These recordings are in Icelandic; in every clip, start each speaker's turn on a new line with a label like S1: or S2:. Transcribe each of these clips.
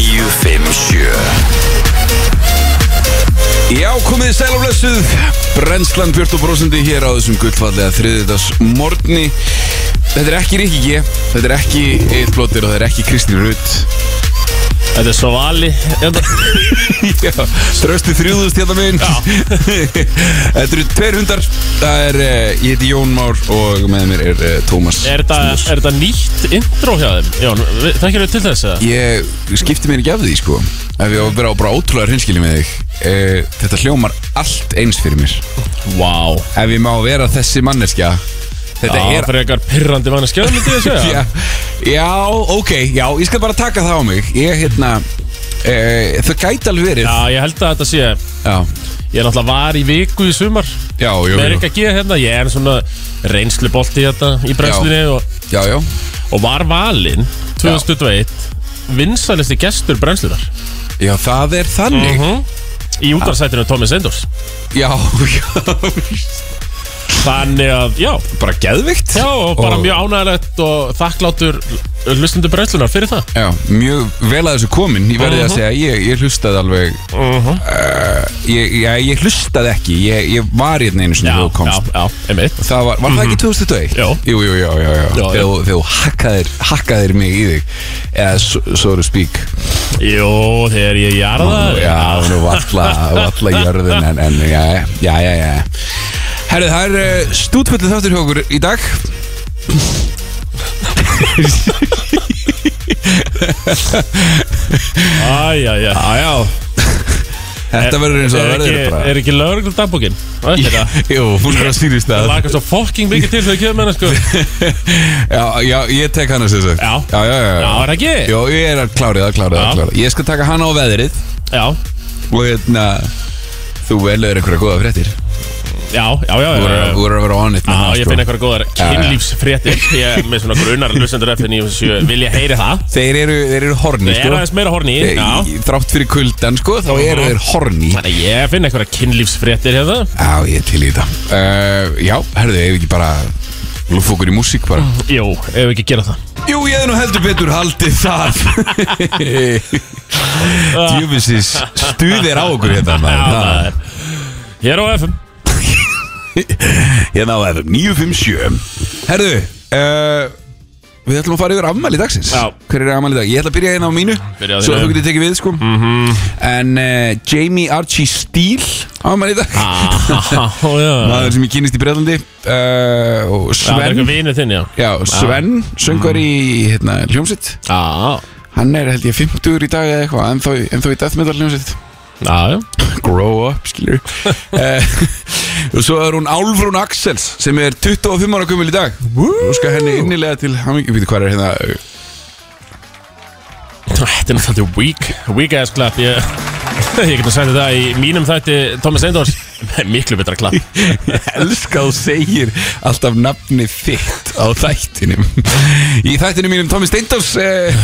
S1: 957
S2: Já, komið í sæl og blessuð Brennslan 40% hér á þessum gullfallega þriðdags morgni Þetta er ekki Ríkki G Þetta er ekki Eitt Blóttir og þetta er ekki Kristín Rutt
S3: Þetta er svo vali
S2: Já, Trösti þrjúðust hérna minn Þetta eru tveir hundar Það er, eh, ég heiti Jón Már og með mér er eh, Tómas
S3: Er þetta er þetta nýtt intro hjá þeim? Jón, þekkir þau til þess að?
S2: Ég skipti mér ekki af því, sko Ef ég á að vera á bara ótrúlega hreinskili með þig eh, Þetta hljómar allt eins fyrir mér
S3: Vá wow.
S2: Ef ég má vera þessi manneskja Þetta er
S3: Það er frekar pirrandi manneskja myndi ég að segja
S2: já, já, ok, já, ég skal bara taka það á mig Ég, hérna, e, það gæti alveg verið
S3: Já, ég held að þetta sé
S2: já,
S3: Ég er náttúrulega var í viku í sumar
S2: já, já,
S3: Það er
S2: já,
S3: ekki að gera hérna Ég er svona reynslubolti hérna í bremslinni og,
S2: já, já.
S3: og var valinn 2021 vinsalisti gestur brennslunar
S2: já það er þannig
S3: Mhm. í útvarsætinu Tómi Sendors
S2: Já, já,
S3: Þannig að, já,
S2: bara geðvikt
S3: já og bara
S2: Og-
S3: mjög ánægilegt og þakklátur hlustundur brennslunar fyrir það
S2: Já, mjög vel að þessu komin Ég verði
S3: Mhm.
S2: að segja, ég, ég hlustaði alveg Mhm. ég, já, ég hlustaði ekki Ég, ég var hérna einu sinni
S3: Já,
S2: þegar þú
S3: já,
S2: komst
S3: já, einmitt
S2: Það var, var það ekki 2001?
S3: Jó.
S2: Jú, jú, já, já, já,
S3: Já,
S2: Þegar þú-
S3: já.
S2: þegar þú hakkaðir, hakkaðir mig í þig Eða, so, so to speak
S3: Jó, þegar ég jarða
S2: Já, nú valla, valla jörðin en, en já, já, já, já Herrið, það er eh, stútfullu þáttur hjá okkur í dag
S3: Æja, já
S2: já Þetta verður eins og það
S3: Er
S2: verður
S3: ekki,
S2: bara
S3: er ekki lögreglu dagbókin? Það
S2: Jú, hún er að stýrist það
S3: lakar svo fokking mikið til þegar kemur menna sko Já,
S2: Já, já, ég tek hana sér sagt
S3: Já.
S2: já, já, já,
S3: er það ekki?
S2: Jó, ég er að klárið, að klárið,
S3: Já.
S2: að klárið Ég skal taka hana á veðrið
S3: Já,
S2: Og hérna, þú velur einhverja góða fréttir
S3: já, já, já,
S2: Þú
S3: já, já.
S2: verður- þú verður að vera onnit
S3: Já, ég finn eitthvað góðar
S2: já.
S3: kynlífsfréttir Ég er með svona grunar hlustendur FN97 Vilja heyri það
S2: Þeir eru, þeir eru horni,
S3: Það er
S2: sko
S3: aðeins meira horni í, Já
S2: Þeir- Þrátt fyrir kuldan, sko, þá eru þeir horni
S3: Þannig að ég finn eitthvað kynlífsfréttir hérna. hefða
S2: Já, ég er til í þetta uh, Já, herðu, ef ekki bara Lúf okkur í músík bara
S3: Jó, ef við ekki gera það
S2: Jú, ég hef nú heldur betur haldið það Djúfisins stuðir á okkur hérna maður.
S3: það er Hér á FM
S2: Það- Hérna á FM 957 Herðu uh, Við ætlum að fara yfir afmæli dagsins
S3: Já.
S2: Hver er afmæli í dag? Ég ætla að byrja hérna á mínu
S3: Byrja á
S2: Svo
S3: þínu. Mm.
S2: þú getur tekið við sko -hmm. En uh, Jamie Archie Steele Afmæli í dag
S3: Ah. Á, já
S2: Maður sem ég kynist í Breitlandi uh, Og
S3: Það er
S2: Sven
S3: eitthvað Ah. Mm. vinið þinn, já
S2: Já, Sven, söngar í hérna, hljómsitt
S3: Já,
S2: Hann er held ég 50 í dag eða eitthvað ennþá, ennþá í death metal hljómsitt
S3: já, já
S2: Grow up, skilur eh, Og svo er hún Álfrún Axels sem er 25 ára kumil í dag Nú skal henni innilega til hamingi Við hvað er hérna
S3: Þetta er náttúrulega weak, weak ass clap Ég, ég get að segja þetta í mínum þætti Thomas Eindors Miklu betra clap
S2: Ég elska að þú segir alltaf nafni þitt á þættinum Í þættinum mínum Tommy Steindors eh,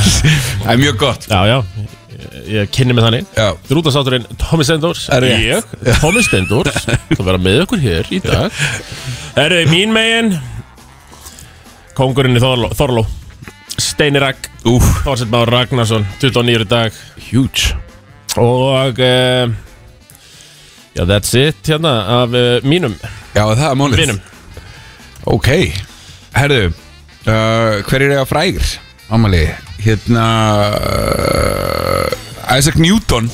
S2: Það er mjög gott
S3: Já, já, ég, ég kynni mig þannig
S2: Já,
S3: Rútasátturinn Thomas Eindors
S2: Er rétt.
S3: Ég, Thomas Eindors Það vera með okkur hér í dag Herðu, mín megin Kongurinn í Þorló, Þorló. Steinirak
S2: úf,
S3: Þorsett Már Ragnarsson 29 í dag
S2: huge
S3: Og uh, Já, that's it hérna af uh, mínum
S2: Já, það er málið
S3: vinum
S2: Ok, herðu uh, Hver er það frægir? Ámali, hérna uh, Isaac Newton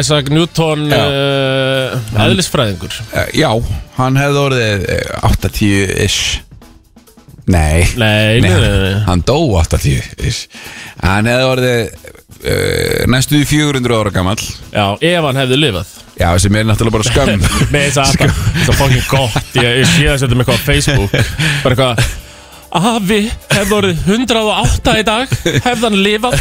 S3: Isaac Newton
S2: Já.
S3: uh, eðlisfræðingur
S2: uh, Já, hann hefði orðið uh, 80-ish Nei
S3: Nei, nei, nei, nei.
S2: hann dó 80-ish Hann hefði orðið uh, næstu því 400 ára gamall
S3: Já, ef hann hefði lifað
S2: Já, sem er náttúrulega bara skömm
S3: Með þess að það er fokkin gott Ég, ég sé það setja með eitthvað á Facebook Bara eitthvað Afi hefði orðið 108 í dag Hefði hann lifað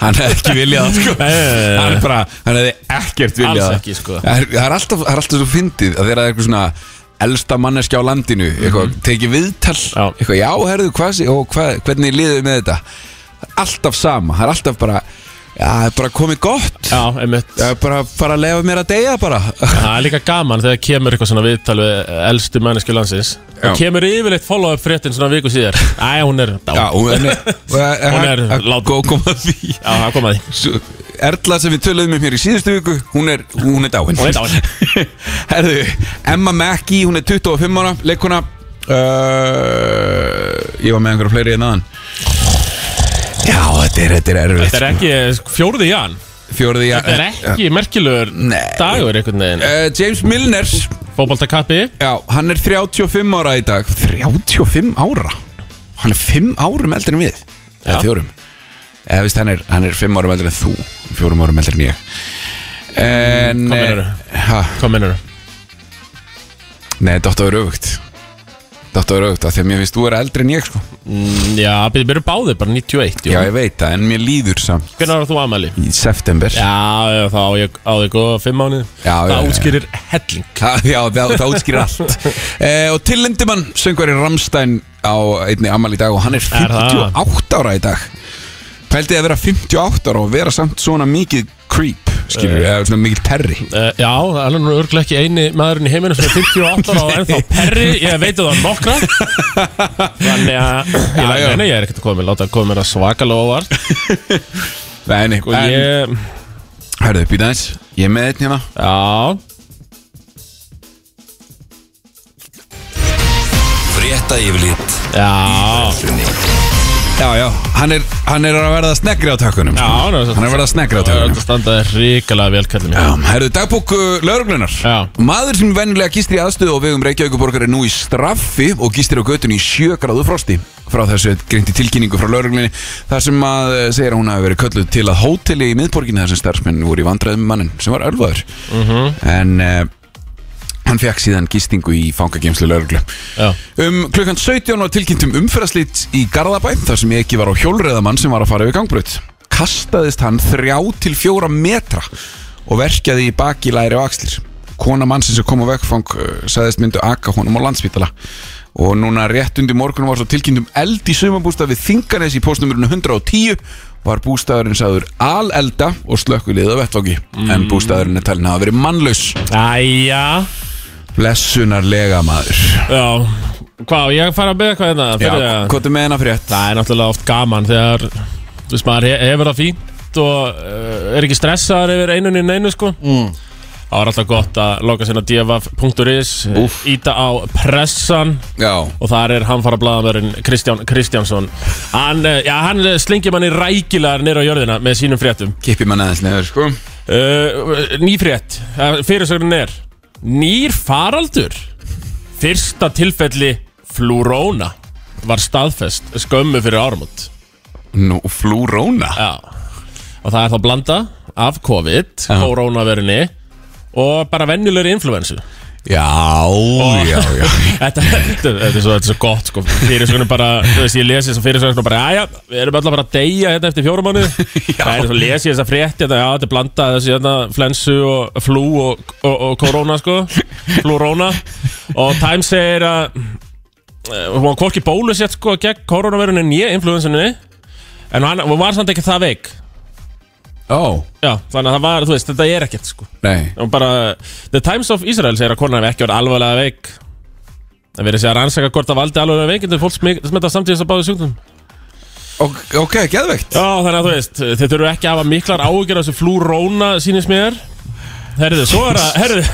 S2: Hann hefði ekki viljað það, sko.
S3: Nei, nei, nei, nei.
S2: Hann er bara, hann hefði ekkert viljað
S3: Alls
S2: það.
S3: ekki, sko.
S2: Það er, það er alltaf, það er alltaf svo fyndið að þeirra er eitthvað svona elsta manneskja á landinu eitthvað, tekið viðtal
S3: Mhm. Já.
S2: eitthvað, já, herðu, hvað sé, og hvað, hvernig liðum við með þetta alltaf sama, það er alltaf bara Já, það er bara komið gott
S3: Já, einmitt
S2: Það er bara að fara að lefa mér að deyja bara
S3: Það er líka gaman þegar kemur eitthvað svona viðtal við elstu mannesku landsins
S2: Já.
S3: Það kemur yfirleitt follow-up fréttin svona viku síðar Æ, hún er dá
S2: Já, hún er, hún
S3: er látin.
S2: Góð koma að því
S3: Já, það kom að því
S2: Svo- Erla sem við töluðum um hér í síðustu viku Hún er, hún er dáin
S3: Hún er dáin.
S2: Herðu, Emma Mackey, hún er 25 ára Leikuna uh, Ég var með einhverja fleiri en aðan Já, þetta er, þetta er erfitt
S3: Þetta er ekki fjóruði jan
S2: Fjóruði,
S3: Þetta er ekki merkilegur
S2: Nei.
S3: dagur einhvern veginn
S2: uh, James Milner
S3: Fótboltakappi
S2: Já, hann er 35 ára í dag 35 ára? Hann er 5 árum eldri en við Eða
S3: Já.
S2: fjórum Eða veist, hann er, hann er 5 árum eldri en þú Fjórum árum eldri en ég En eh,
S3: Hvað meinarðu?
S2: ha,
S3: Hvað mennur
S2: Nei, þetta er auðvögt Þetta er auðvögt Þegar mér finnst þú er eldri en ég sko.
S3: mm, Já, við við erum báðir bara 91
S2: Já, ég veit það, en mér líður samt
S3: Hvernig var þú amæli?
S2: Í september
S3: Já, já, þá á ég á þig góða fimm mánuð
S2: Já, já, já.
S3: Það útskýrir helling
S2: Það- Já, það, það útskýrir allt eh, Og til Lindemann, söngvari Ramstein á einni ammal í dag og hann er
S3: Er það?
S2: 58 ára í dag Pældi að vera 58 ára og vera samt svona mikið creep skilur, eða svona mikið perri
S3: Uh, já, hann er nú örglega ekki eini maðurinn í heiminu sem er 58 ára og ennþá perri, ég veit að það er nokkra Þannig að ég,
S2: Já, já.
S3: Nei, nei, ég er ekkert komin, láta að koma mér að svakalega óvart
S2: Nei, nei, en, ég...
S3: Og Sko, ég,
S2: herðu, býta eins Ég er með einn hérna
S3: já,
S1: Frétta yfirlit
S3: já,
S2: Já, já, hann er, hann er að verða snegri á takkunum
S3: já
S2: sko.
S3: ná,
S2: Hann er að verða snegri á
S3: Það er
S2: takkunum
S3: að standa ríkilega vel kallið mér
S2: Já, herðu, dagbók lauruglunar
S3: Já.
S2: Maður sem venjulega gistir í aðstöðu og vegum Reykjavíkuborgar er nú í straffi og gistir á götunni í sjö gráðu frosti frá þessu greinti tilkynningu frá lauruglunni þar sem að eh, segir að hún hafi verið kölluð til að hóteli í miðborginni þar sem starfsmenn voru í vandræðum með mannin sem var ölvaður -huh. en uh, hann fekk síðan gistingu í fangageimslu lauruglu
S3: Já,
S2: Um klukkan 17 var tilkynnt um umferðaslit í Garðabæ þar sem ekki var á hjólreðamann sem var að fara yfir gangbrut. Kastaðist hann þrjá til fjóra metra og verkjaði í baki læri og axlir. Kona mannsins sem kom á vegfang uh, sagðist myndu aka honum á landsvítala. Og núna rétt undir morgunum var svo tilkynnt um eld í sumabústað við Þinganes í postnumurinu 110 var bústaðurinn sagður alelda og slökkulið af vettvangi en bústaðurinn er talin að hafa verið mannlaus
S3: æja,
S2: blessunarlega maður
S3: já, hvað, á ég að fara að beða hvað hérna
S2: Já,
S3: Fyrir að-
S2: hvað er með hennar frétt?
S3: Það er náttúrulega oft gaman þegar þú veist maður he- hefur það fínt og uh, er ekki stressaður yfir einunni en einu sko mm. Það var alltaf gott að loka sinna dfaf.is
S2: Úff.
S3: eh, Íta á pressan
S2: Já,
S3: og þar er hann fara blaðamörinn Kristján Kristjánsson Hann, eh, já, hann slingir manni rækilegar nýra á jörðina með sínum fréttum
S2: kippi mann aðeins neður sko
S3: uh, Ný frétt, uh, fyrirsögnin er Nýr faraldur Fyrsta tilfelli flúróna var staðfest skömmu fyrir áramót
S2: Nú, flúróna
S3: Já Og það er þá blanda af COVID,
S2: Já.
S3: koronaverunni og bara venjulegri influensu
S2: Já, já, já
S3: Þetta, þetta, þetta, er, svo, þetta er svo gott sko Fyrirsögnum bara, þú veist, ég lesi þess að fyrirsögnum bara Jæja, við erum öll að bara að deyja hérna eftir fjórum mánu Það er svo lesi ég þess að frétti þetta, Já, þetta er blanda af þessi hérna flensu og flú og, og, og korona sko Flúróna Og Time segir að eh, Hún var hvorki bólusett sko gegn koronaverunni nýja influensunni En hann hún var samt ekki það veik
S2: Ó,
S3: Já, þannig að það var, þú veist, þetta er ekkert sko
S2: nei
S3: Og bara, The Times of Israel segir að konan hefði ekki verið alvarlega veik Það verið segja að rannsaka hvort það valdi alvarlega veik En það fólk smik- smita samtíðast að báðu sjúkdum
S2: Ok, ok, geðveikt
S3: Já, þannig að þú veist, þið þurfum ekki að hafa miklar áhyggjur af Þessu flúróna sínist mér Herðu, svo er að, herðu,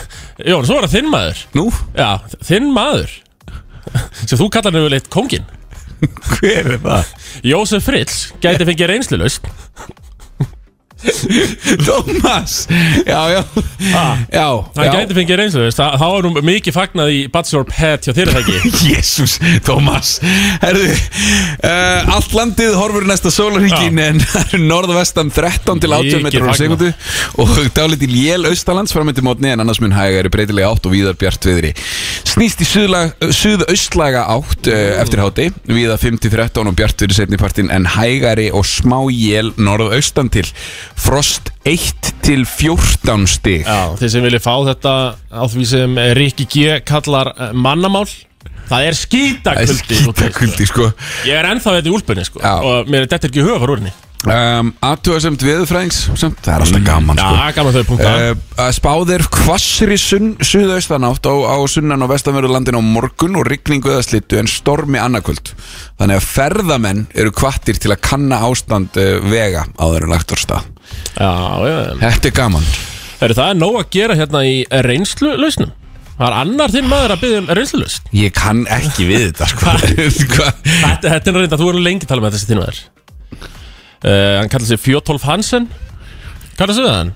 S3: Jón, svo er að þinn maður
S2: Nú,
S3: Já, þinn maður Sem þú kallar nefnilega eitt kóngin
S2: hver er það?
S3: Jósef Fritz gæti fengið reynslulust
S2: Thomas Já, já
S3: ah,
S2: Já,
S3: Hann
S2: já
S3: gæti fengið reynslulust Þa, Þá er nú mikið fagnað í Bachelor Pet hjá þér er það ekki
S2: Jésús, Thomas Herðu, uh, allt landið horfur næsta sólarhingin en það eru norðvestan 13 til 18
S3: Mikið
S2: metrar á
S3: fagna.
S2: sekundu og dálítið lél austalands framöndi mótni en annars mun hæga eru breytilega átt og víðar bjart viðri snýst í suðla- suðaustlæga átt uh, eftir háti víða 5-13 og bjart viðri setni partinn en hægari og smá jél norðaustan til frost 1 til 14 stig
S3: Já, þið sem viljið fá þetta á því sem Ríkki G kallar eh, mannamál
S2: Það
S3: Það er
S2: er
S3: skítakuldi
S2: skítakuldi sko
S3: Ég er ennþá þetta í úlpunni sko
S2: Já.
S3: Og mér er þetta ekki huga fara úr henni
S2: um, Aðtugasemt veðurfræðings samt, Það er alltaf gaman sko.
S3: Já, gaman þau punkta
S2: uh, að Spáðir hvassri sunn, suðaustanátt á, á sunnan og vestanverðu landin á morgun og rigningu eða slittu en stormi annarkvöld Þannig að ferðamenn eru kvattir til að kanna ástand uh, vega á þeirra lagt á stað
S3: Já, já, já
S2: Þetta er gaman
S3: Heru, Það er nóg að gera hérna í reynslulausnum Það er annar þinn maður að byggja um reynslulausn
S2: Ég kann ekki við þetta sko. Hvað?
S3: Þetta, þetta er reynda, þú eru lengi að tala með þessi þinn maður uh, Hann kallar sig Fjotolf Hansen Kallar sig það hann?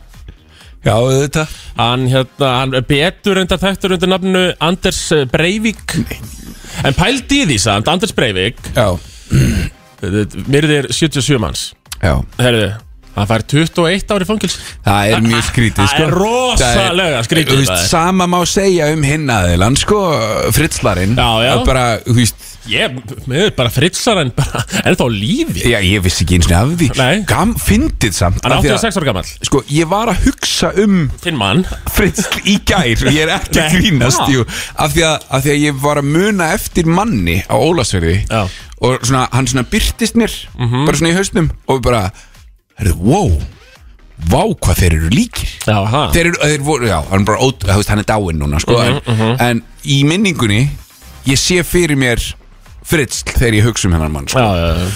S2: Já, þetta
S3: Hann, hérna, hann er betur undar þekktur undir nafnu Anders eh, Breivik En pældi í því samt, Anders Breivik
S2: Já,
S3: Myrðir 77 manns
S2: já
S3: Herðu, hann fær 21 ári fangils
S2: Það er mjög skrítið sko.
S3: Það er rosalega skrítið,
S2: Þú veist,
S3: það er.
S2: Sama má segja um hinn aðeilan sko, Fritzlarinn
S3: Já, já.
S2: Það er bara, þú veist,
S3: Ég, mér er bara fritsar en bara Er það á lífi?
S2: já, Ég vissi ekki eins og af því
S3: Nei.
S2: Gam, Fyndið samt
S3: Hann
S2: af
S3: er
S2: því að-
S3: 86 ára gamall
S2: Sko, ég var að hugsa um
S3: Þinn mann
S2: Fritzl í gær og Ég er ekki að
S3: Nei.
S2: grínast
S3: Já.
S2: jú, af, því að, af því að ég var að muna eftir manni á Ólasverði
S3: Já. Mhm.
S2: Og svona, hann svona byrtist mér Bara svona í hausnum Og bara, herðu, wow Vá, hvað þeir eru líkir
S3: Já, ha
S2: þeir, eru- þeir voru, já, hann, bara, ót, þú veist, hann er dáinn núna sko, en,
S3: Mhm,
S2: en í minningunni ég sé fyrir mér fritzl þegar ég hugsa um hennar mann sko.
S3: Já, já, já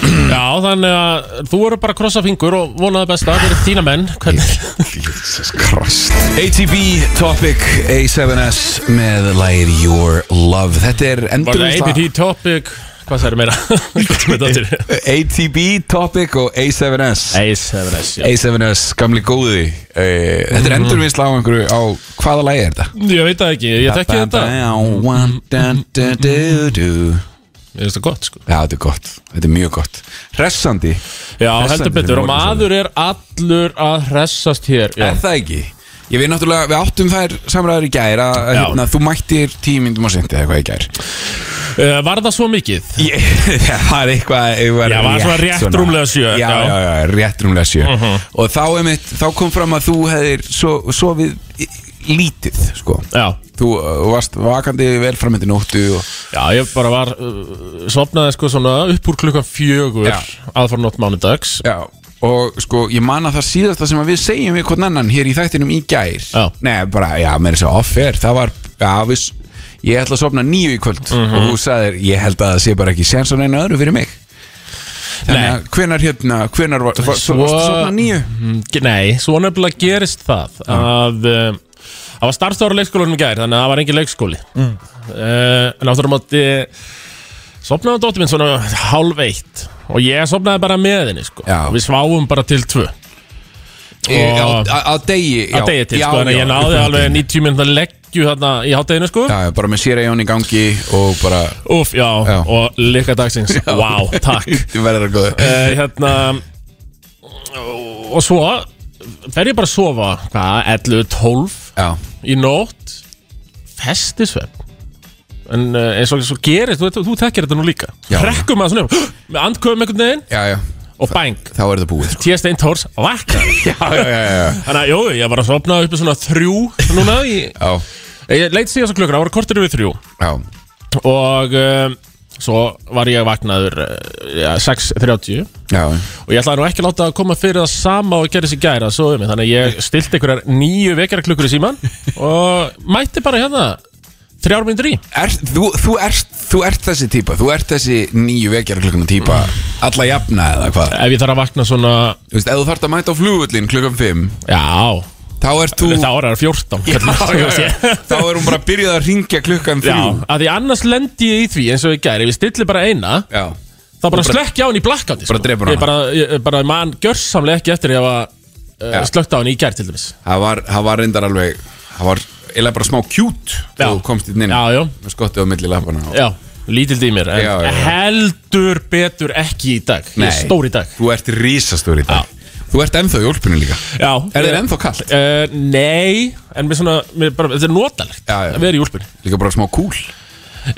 S3: Já, þannig að þú eru bara að krossa fingur og vonaði besta fyrir þína menn Hvernig?
S2: Jesus Christ ATV Topic A7S með lægir Your Love þetta er
S3: Var það
S2: endurvinnsla
S3: ABT topic? Hvað það eru meira? Hvað er þetta?
S2: ATV Topic og A7S
S3: Ace, það er ace, já
S2: A7S, gamli góði uh, Þetta
S3: Mhm.
S2: er endurvinnsla á einhverju á hvaða lægi er þetta?
S3: Ég veit það ekki, ég þekki þetta
S2: þetta
S3: Ég veist það gott sko
S2: Já, þetta er gott, þetta er mjög gott Hressandi,
S3: Já,
S2: Hressandi
S3: heldur betur
S2: fyrir
S3: og maður er allur að hressast hér Já,
S2: er það ekki? Ég veit náttúrulega, við áttum þær samræður í gær að að
S3: Já.
S2: hérna, þú mættir tíu myndum á sendi eða eitthvað í gær
S3: uh, var það svo mikið?
S2: ég, Það er eitthvað eitthvað
S3: Já, var svona rétt rúmlega sjö,
S2: Já,
S3: já. Mhm.
S2: já, já, rétt rúmlega sjö Og þá, einmitt, þá kom fram að þú hefðir so, sofið í- lítið, sko
S3: Já,
S2: Þú uh, varst vakandi vel framöndi nóttu og,
S3: já ég bara var uh, sopnaði sko svona upp úr klukkan fjögur
S2: Já.
S3: aðfara nótt mánudags
S2: Já Og sko, ég man að það síðasta sem að við segjum við hvern annan hér í þættinum í gær
S3: Já.
S2: Nei, bara, já, mér er svo off-air Það var, já, við, ég ætla að sofna nýju í kvöld
S3: Mhm.
S2: Og þú sagðir, ég held að það sé bara ekki séns á neina öðru fyrir mig Þannig
S3: Nei.
S2: að hvenar hérna, hvenar var, var, svo...
S3: Svo-
S2: varstu að sofna nýju?
S3: Mm, ge- Nei, svo nefnilega gerist það að uh, það var starfstofur leikskólanum í gær þannig að það var engin leikskóli mm. uh, en áttur á móti sopnaði dóttir minn svona hálf eitt og ég sopnaði bara með henni sko.
S2: Já.
S3: við sváum bara til tvö
S2: Í- á- á- Á degi, já
S3: að degi til
S2: já,
S3: sko, en
S2: já,
S3: ég náði
S2: já,
S3: alveg 90 minna leggju þarna í hátteginu sko
S2: Já, já, bara með sér í gangi og bara
S3: Úf, já,
S2: Já.
S3: og líka dagsins Vá, takk uh,
S2: Þú verður að góðu
S3: Hérna Og svo fer ég bara að sofa Hvað, 11, 12
S2: Já,
S3: í nótt Festisvefn En uh, eins og svo gerist, þú, þú, þú tekir þetta nú líka
S2: Já.
S3: Rekkum maður svona upp Með andköfum einhvern veginn
S2: já, já,
S3: og bæng
S2: þá er það búið sko.
S3: T.S. Tórs, vakna
S2: Já, já, já, já,
S3: Þannig að, jú, ég var að sofna uppi svona þrjú Núna, ég,
S2: já,
S3: ég leit síðast á klukkuna, það voru kortir yfir þrjú
S2: já.
S3: og um, svo var ég vaknaður uh, já, 6.30
S2: já.
S3: og ég ætlaði nú ekki að láta að koma fyrir það sama og gerði sér gæra svo um mig þannig að ég stilti einhverjar nýju vekjarklukkur í síman og mætti bara hérna þrjár myndir í
S2: er, þú, þú, ert, þú ert þessi típa Þú ert þessi nýju vekjara klukkuna típa Alla jafna eða hvað
S3: ef ég þarf að vakna svona
S2: Þú veist, ef þú þarft að mæta á flugullin klukkan 5
S3: já,
S2: Þá ert þú
S3: þá er það 14
S2: Já,
S3: hvernig-
S2: já, já.
S3: Ég-
S2: Þá er hún bara að byrjað að ringja klukkan 3
S3: já, að því annars lendi ég í því eins og ég gæri ef ég stilli bara eina
S2: já.
S3: þá bara slökk ég á henni í blakkandi
S2: Bara drepur
S3: ég
S2: hana.
S3: bara, ég, bara man gjörsamlega ekki eftir ég hafa
S2: Já.
S3: uh, slökkt á henni í gær til dæmis
S2: Það var, það var reyndar alveg Það var eiginlega bara smá kjút
S3: Já.
S2: Þú komst inn inn
S3: já, já,
S2: Með skottið á milli lappana og-
S3: Já, lítild í mér en
S2: Já, já, já.
S3: heldur betur ekki í dag Ég er
S2: Nei.
S3: stór í dag
S2: Þú ert risastór í dag Þú ert ennþá í úlpunni líka
S3: Já
S2: Er þér ennþá kalt?
S3: Uh, nei, en mér svona, mér bara, þetta er notalegt
S2: Já, já.
S3: að vera í úlpunni
S2: Líka bara smá kúl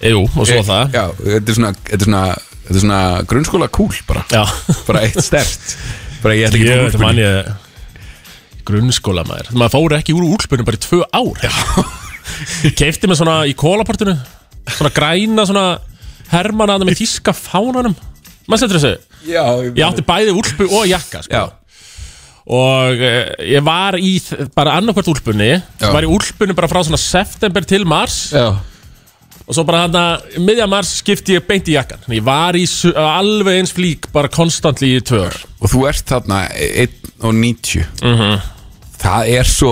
S2: Eh,
S3: Jú, og svo það
S2: Já, þetta er svona, þetta er svona, þetta er svona grunnskóla kúl bara
S3: Já,
S2: bara eitt stert bara ég ætla
S3: ég
S2: ekki
S3: veit
S2: úlpunni.
S3: mann ég grunnskóla maður maður fór ekki úr úlpunni bara í tvö ár Ég keipti mig svona í kólaportinu svona græna svona hermana með þíska fánanum maður setur þessu
S2: Já,
S3: Ég átti bæði úlpu og jakka sko.
S2: Já,
S3: Og eh, ég var í þ- bara annarkvært úlpunni
S2: Já.
S3: Var í úlpunni bara frá svona september til mars
S2: já,
S3: Og svo bara hann að miðja mars skipti ég beint í jakkan Þannig Ég var í su- alveg eins flík bara konstantli í tvör
S2: og þú ert þarna 1 og 90
S3: Mhm.
S2: Það er svo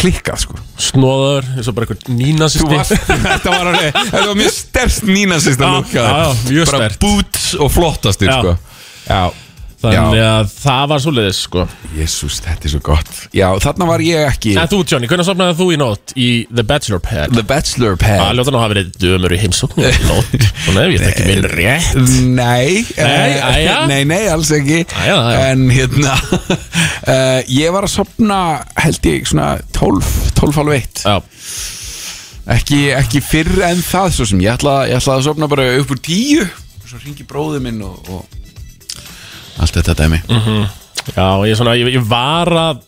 S2: klikkað sko
S3: Snóður, eins og bara einhver nína
S2: Þú varst, þetta var alveg, þetta var mjög sterkt nýna sýsta
S3: Já,
S2: lúkja
S3: já, já, mjög
S2: Bara
S3: sterkt.
S2: boots og flottastir
S3: Já.
S2: sko Já,
S3: Þannig að það var svoleiðis sko
S2: jésús, þetta er svo gott Já, þarna var ég ekki
S3: En þú Johnny, hvernig sopnaði þú í nótt í The Bachelor Pad?
S2: The Bachelor Pad
S3: Það ljóta nú að hafa verið dömur í heimsóknu í nótt Þannig að ég þekki minn rétt
S2: Nei
S3: Nei,
S2: eh,
S3: æja.
S2: nei, nei, alls ekki
S3: Æja, æja.
S2: En hérna uh, Ég var að sopna held ég svona 12, 12 halv 1
S3: Já,
S2: ekki, ekki fyrr en það svo sem ég ætlaði ég ætla að sopna bara upp úr 10 og svo ringi bróði minn og, og allt þetta dæmi
S3: já ég, svona, ég, ég var að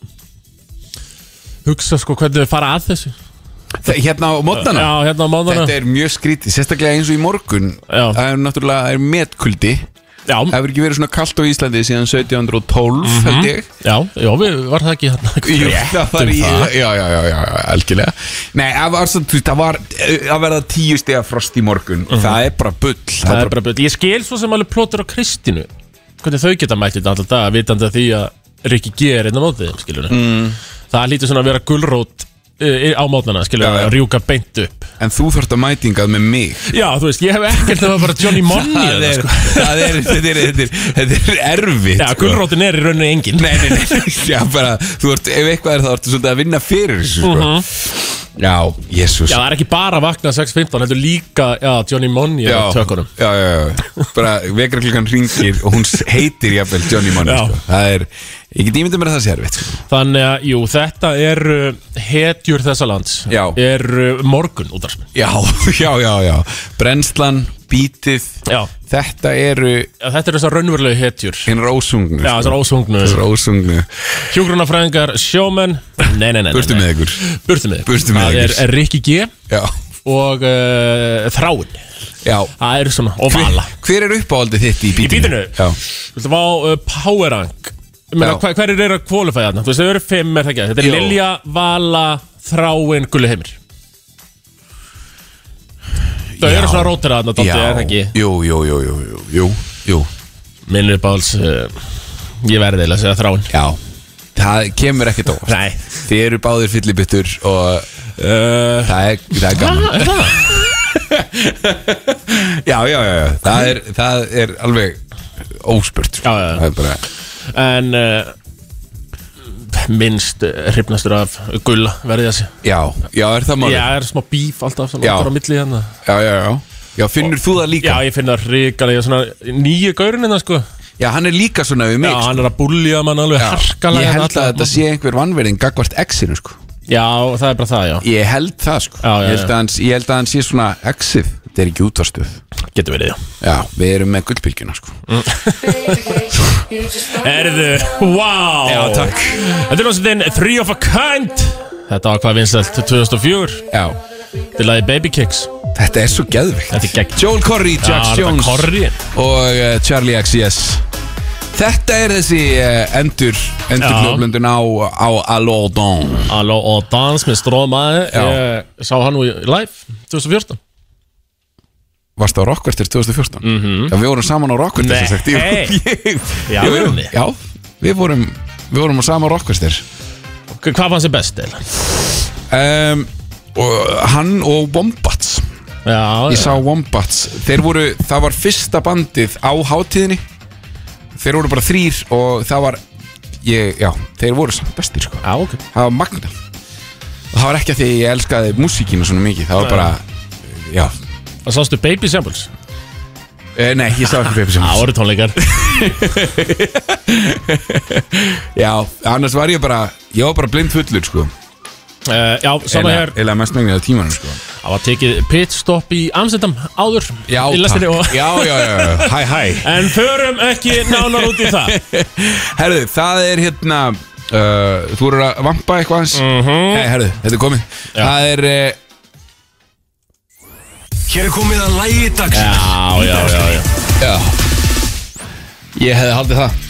S3: hugsa sko hvernig við fara að þessu
S2: Þe- Hérna á mótnana
S3: Já, hérna á mánana
S2: Þetta er mjög skrítið, sérstaklega eins og í morgun
S3: Já.
S2: Það er náttúrulega það er metkuldi Það
S3: Já,
S2: hefur ekki verið svona kalt á Íslandi síðan 1712 held ég
S3: já, já, við var það ekki hérna
S2: Jú, það var í,
S3: það.
S2: já, já, já, já, já, algjörlega Nei, það var svo, þú veist, það var eh, að verða tíu stega frost í morgun Það er bara bull
S3: Mhm. Það er bara byrjum Ég skil svo sem alveg plótur á Kristínu Hvernig þau geta mætt þetta alltaf dag Vitandi að því að Rikki G er einn á móti þeim, skilur mm. Það hlýtur svona að vera gulrót uh, á mótnana, skilur
S2: Já, já.
S3: að rjúka beint upp
S2: En þú þurft að mætingað með mig
S3: Já, þú veist, ég hef ekkert að bara Johnny Money
S2: Það
S3: eða,
S2: er,
S3: sko.
S2: það er, þetta er, þetta er, þetta er erfitt
S3: Já,
S2: sko.
S3: gulrótin er í rauninni engin
S2: Nei, nei, nei, já, bara, þú ert, ef eitthvað er það, ertu svolítið að vinna fyrir þessu, sko Já, jésús
S3: Mhm. Já, það er ekki bara að vakna 6.15 Heldur líka, já, Johnny Money er á tökunum
S2: já, já, já, bara vekraklukan ringir og hún s- heitir jafnvel Johnny Money
S3: Já.
S2: sko. það er, ég get ímyndið mér að það sé erfitt sko.
S3: Þannig að, jú, þetta er uh, hetjur þessa lands
S2: Já.
S3: Er uh, morgun útarsmenn
S2: já, já, já, já brennslan, bítið
S3: Já,
S2: þetta eru sko.
S3: þetta eru þessar raunverulegu hetjur
S2: hinn rósungnu
S3: Já, þessar ósungnu
S2: rósungnu
S3: Hjúgrunafræðingar, sjómenn Nei, nei, nei, nei, nei.
S2: burtu með ykkur
S3: Burtu með ykkur.
S2: Burtu með
S3: Það
S2: ykkur.
S3: er, er Rikki G
S2: já,
S3: og uh, Þráin
S2: já
S3: Það er svona, og Vala
S2: hver er uppáhaldið þitt í bítinu?
S3: bítinu?
S2: já,
S3: Viltu fá uh, Power Rank Meina,
S2: Já.
S3: hver, hver er að kvalifæða þarna? Þú veist, þau eru fimm, er það ekki? Þetta er
S2: Jú.
S3: Lilja, Vala, Þráin, Gulli Heimir Þau
S2: Já.
S3: eru svona rótir að þarna, Dótti, er það
S2: já,
S3: ekki?
S2: jú, jú, jú, jú, jú, jú, jú.
S3: Minn er báls, uh, ég verði eiginlega að segja Þráin
S2: já það kemur ekkert óvart
S3: Nei
S2: Þið eru báðir fyllibittur og
S3: uh,
S2: það er, það er gaman
S3: er það?
S2: Já, já, já, já. Það, er, það er alveg óspurt sko.
S3: Já, já, já.
S2: Það er bara,
S3: En uh, minnst uh, hrifnastur af gulla verði þessi
S2: já, já, er það
S3: Ég
S2: málið?
S3: er smá bíf alltaf sem
S2: Já.
S3: okkar á milli hérna
S2: Já, já, já Já, finnur þú það líka?
S3: Já, ég finn það ríkalega svona nýju gaurin hérna sko
S2: Já, hann er líka svona við
S3: Já,
S2: mig sko.
S3: hann er að búlja mann alveg harkalega
S2: Ég held
S3: hérna
S2: að
S3: alla-
S2: þetta sé einhver vannverðin gagvart exinu, sko
S3: Já, það er bara það, já
S2: Ég held það, sko
S3: Já, já,
S2: ég, held
S3: já.
S2: að Hans, ég held að hann sé svona exið Þetta er ekki útvarstuð
S3: Getur verið, já
S2: Já, við erum með gullbylgjuna, sko
S3: Erðu, wow
S2: Já, takk.
S3: Þetta er náttúrulega Three of a Kind Þetta var hvað vinsælt 2004
S2: Já,
S3: Þetta er lagið Baby Kicks
S2: þetta er svo geðvikt
S3: Þetta er gegn
S2: Joel Corry, Jax Jones
S3: Korri
S2: og uh, Charlie XCS Þetta er þessi uh, endur endur
S3: Já.
S2: hljóflundun á, á Allo Dawn
S3: Halló og dans með strómaði
S2: Já.
S3: Ég sá hann nú í live 2014
S2: Varst á Rockvertir 2014? Mm -hmm. Já, við vorum saman á Rockvertir
S3: Mhm. Nei.
S2: sem sagt
S3: Hey.
S2: ég,
S3: Já,
S2: ég,
S3: vorum
S2: við,
S3: við?
S2: já, við vorum við vorum á saman á Rockvertir
S3: Hva- Hvað fannst þið best eða?
S2: um, og hann og Wombats
S3: Já,
S2: ég sá Wombats þeir voru, það var fyrsta bandið á hátíðinni þeir voru bara þrýr og það var ég, já, þeir voru samt bestir sko
S3: já, ok
S2: það var magna það var ekki að því að ég elskaði músíkinu svona mikið það var bara, já
S3: Það sástu Baby Samples
S2: Eh, Nei, ég sá ekki Pepsi
S3: Já,
S2: Max
S3: voru tónleikar
S2: Já, annars var ég bara Ég var bara blind fullur, sko
S3: uh, Já, sama hér
S2: Eða mest megnið af tímanum, sko
S3: Það var tekið pitstop í Amsterdam áður
S2: Já,
S3: í
S2: takk
S3: lestinni og...
S2: Já, já, já, já, hæ, hæ
S3: En förum ekki nánar út í það
S2: Herðu, það er hérna uh, Þú eru að vampa eitthvað hans mm
S3: Mhm.
S2: -hmm. Nei, herðu, þetta er komið Það er, uh,
S1: Hér er komið að lægi dags
S3: Já, já, já, já
S2: já
S1: Ég hefði haldið það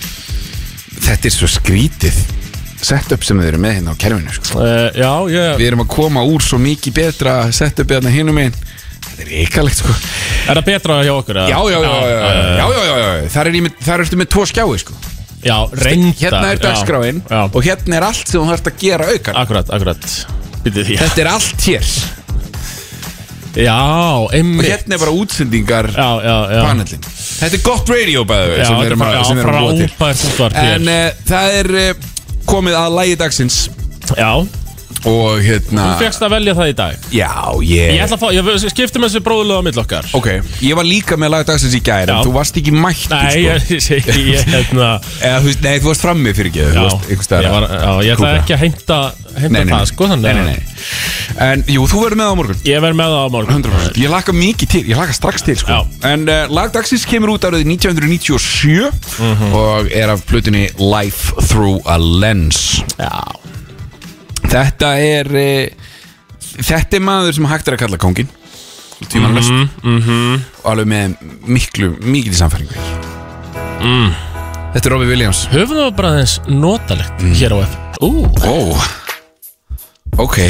S2: Þetta er svo skrítið setup sem þeir eru með hérna á kerfinu sko.
S3: Uh, já, ég,
S2: Við erum að koma úr svo mikið betra setup hérna hinum einn Þetta er reikalegt sko
S3: er það betra hjá okkur? eða?
S2: Já, já, já, já, já,
S3: já,
S2: já, já, já, já. Þar, er ég með, þar ertu með tvo skjái sko
S3: já reynda
S2: Hérna er dagskráin
S3: Já, já.
S2: og hérna er allt sem þú þarfst að gera aukar
S3: akkurat, akkurat Býtið því
S2: Þetta er allt hér
S3: Já,
S2: og
S3: einmitt
S2: hérna er bara útsendingar
S3: Já, já, já
S2: panelin Þetta er gott radio bæðu
S3: Já,
S2: sem við erum að,
S3: já,
S2: sem við erum að búa til
S3: frábært útvarp hér
S2: En uh, það er uh, komið að lægi dagsins
S3: Já,
S2: og hérna
S3: þú fegst að velja það í dag
S2: Já,
S3: Ég ætla að fá, ég skipti með þessi bróðulega á milli okkar
S2: Ok, ég var líka með lag dagsins í gæri en
S3: Já.
S2: þú varst ekki mættur
S3: Nei,
S2: sko.
S3: ég, ég, ég, ég hérna
S2: Eða, þú veist, Nei, þú varst frammi fyrir ekki
S3: Já,
S2: Þú varst einhvers
S3: ég, var,
S2: staðar
S3: já, ég ætla
S2: Kúpra.
S3: ekki að heimta, heimta
S2: Nei, nei,
S3: það
S2: nei.
S3: sko þannig
S2: Nei,
S3: að-
S2: nei, nei. En jú, þú verður með á morgun
S3: Ég verð með það á morgun
S2: 100% Ég laka mikið til, ég laka strax til sko.
S3: Já.
S2: En uh, lagdagsins kemur út árið 1997
S3: Mhm.
S2: Og er af blutinni Life Through a Lens
S3: Já,
S2: Þetta er uh, Þetta er maður sem hægt er að kalla kongin
S3: Mhm,
S2: Tímanlöst mm Og alveg með miklu, mikið samfæringu mm. Þetta er Robbie Williams
S3: höfum það bara aðeins notalegt
S2: Mm.
S3: hér á F Ú,
S2: Ó, ok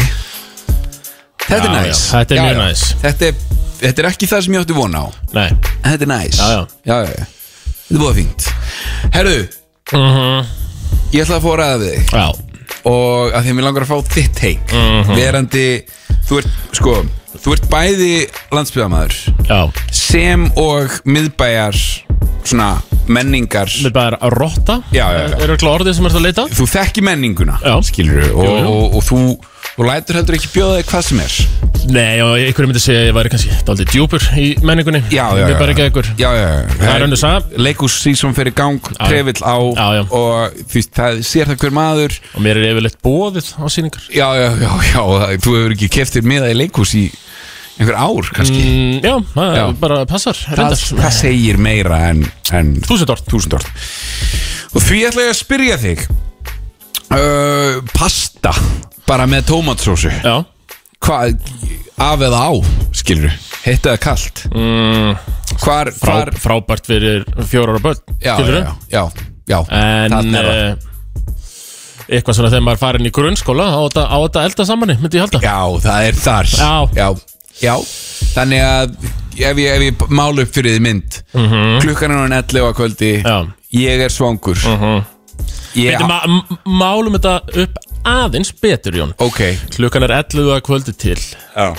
S2: Þetta er
S3: Já,
S2: næs
S3: já, þetta er mjög næs.
S2: þetta, er- þetta er ekki það sem ég átti vona á
S3: nei
S2: En Þetta er næs
S3: Já, já.
S2: já, já. Þetta er búið fínt Herðu,
S3: mm -hmm.
S2: ég ætla að fá að ræða við þig
S3: Já,
S2: Og að því að mér langar að fá þitt teik
S3: Mhm.
S2: Verandi, þú ert, sko Þú ert bæði landsbyðamaður
S3: já
S2: Sem og miðbæjar Svona menningar
S3: Við bara að rotta
S2: Já, já, já.
S3: Eru ekki orðið sem ert að leita?
S2: Þú þekki menninguna
S3: Já.
S2: Skilur og,
S3: Jú, jú.
S2: Og, og þú Og lætur heldur ekki bjóða þig hvað sem er
S3: Nei, og einhverjum myndi segja að ég væri kannski daldið djúpur í menningunni
S2: Já, já,
S3: Við
S2: já.
S3: bara ekki ekkur
S2: Já, já, já
S3: Það er önnur saga.
S2: Leikús sísum fyrir gang,
S3: já.
S2: trefill á
S3: Já, já.
S2: Og þú veist, það sér það hver maður
S3: Og mér er yfirleitt bóðið á síningar
S2: Já, já, já, já það- Þú hefur ekki keftir miða í leikús í einhver ár, kannski
S3: mm, Já, það
S2: Já.
S3: bara passar
S2: það,
S3: reyndar.
S2: það segir meira en, en
S3: Þúsund orð
S2: þúsund orð Og því ætla ég að spyrja þig uh, Pasta Bara með tómatsósu
S3: Já
S2: Hvað, af eða á, skilur Heitt eða kalt
S3: mm,
S2: Hvar,
S3: frá,
S2: hvar
S3: Frábært fyrir fjóra ára börn
S2: já, já,
S3: skilurðu?
S2: já, já, já
S3: En
S2: Þarna er það.
S3: eh, Eitthvað svona þegar maður er farin í grunnskóla Á þetta, á þetta elda samanni, myndi ég halda
S2: Já, það er þar
S3: Já.
S2: Já, Já. Þannig að ef ég, ef ég mála upp fyrir þið mynd Klukkan er hann 11 á kvöldi
S3: Mhm. Já. Mhm.
S2: Ég er svangur Ég
S3: Bíddu, ma- m- Málum þetta upp aðeins betur Jón
S2: Ok
S3: Klukkan er 11 að kvöldi til
S2: Já.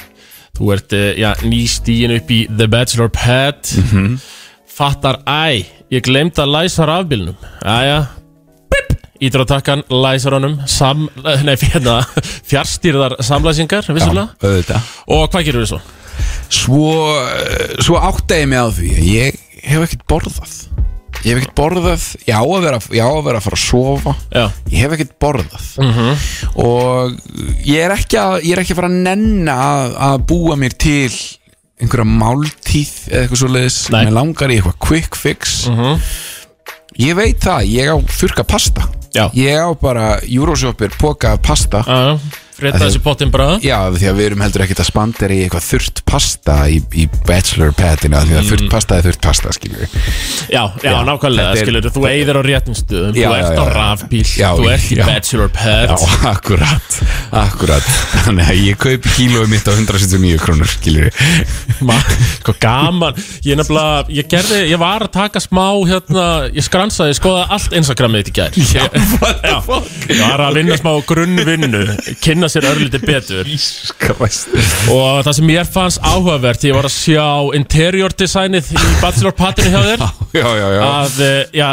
S3: Þú ert eh, já, nýstíin upp í The Bachelor Pad Fattar, æ, ég glemd að læsa rafbílnum Æja, bip Ítur á takkan, læsar honum sam, Nei, hérna, fjárstýrðar samlæsingar, vissulega
S2: Auðvitað
S3: Og hvað gerir við svo?
S2: Svo, eh, svo átta ég mig á því að Ég hef ekkert borðað Ég hef ekkert borðað Ég á að vera, ég á að, vera að fara að sofa
S3: Já,
S2: Ég hef ekkert borðað
S3: Mhm.
S2: Og ég er ekki að Ég er ekki að fara að nenna að, að búa mér til einhverja máltíð eða eitthvað svoleiðis
S3: Nei. Mhm.
S2: Mér langar í eitthvað quick fix Ég veit það, ég á þurka pasta
S3: Já.
S2: Ég á bara Euroshopper poka af pasta
S3: já, frétta þessi pottin bara
S2: Já, því að við erum heldur ekkert að spandera í eitthvað þurrt pasta í, í bachelor patina því að
S3: Mm.
S2: þurrt pasta er þurrt pasta, skilur við
S3: Já, já,
S2: Já,
S3: nákvæmlega,
S2: þetta er-
S3: skilur þú eigðir á réttum stöðum,
S2: Já,
S3: þú
S2: já,
S3: ert á
S2: já, já.
S3: rafbíl,
S2: Já,
S3: þú ert í
S2: já.
S3: bachelor pad
S2: Já, akkurat, akkurat Þannig að ég kaupi kílóið mitt á 179 krónur, skilur
S3: Ma, sko gaman ég nefnilega, ég gerði, ég var að taka smá hérna, ég skransaði, ég skoðaði allt Instagramið þitt í gær já, já, ég var að vinna smá grunnvinnu kynna sér örlítið betur
S2: Skræst
S3: og það sem ég fannst áhugavert ég var að sjá interior designið í bachelor patinu hjá þér
S2: Já, já, já
S3: að, eh, já,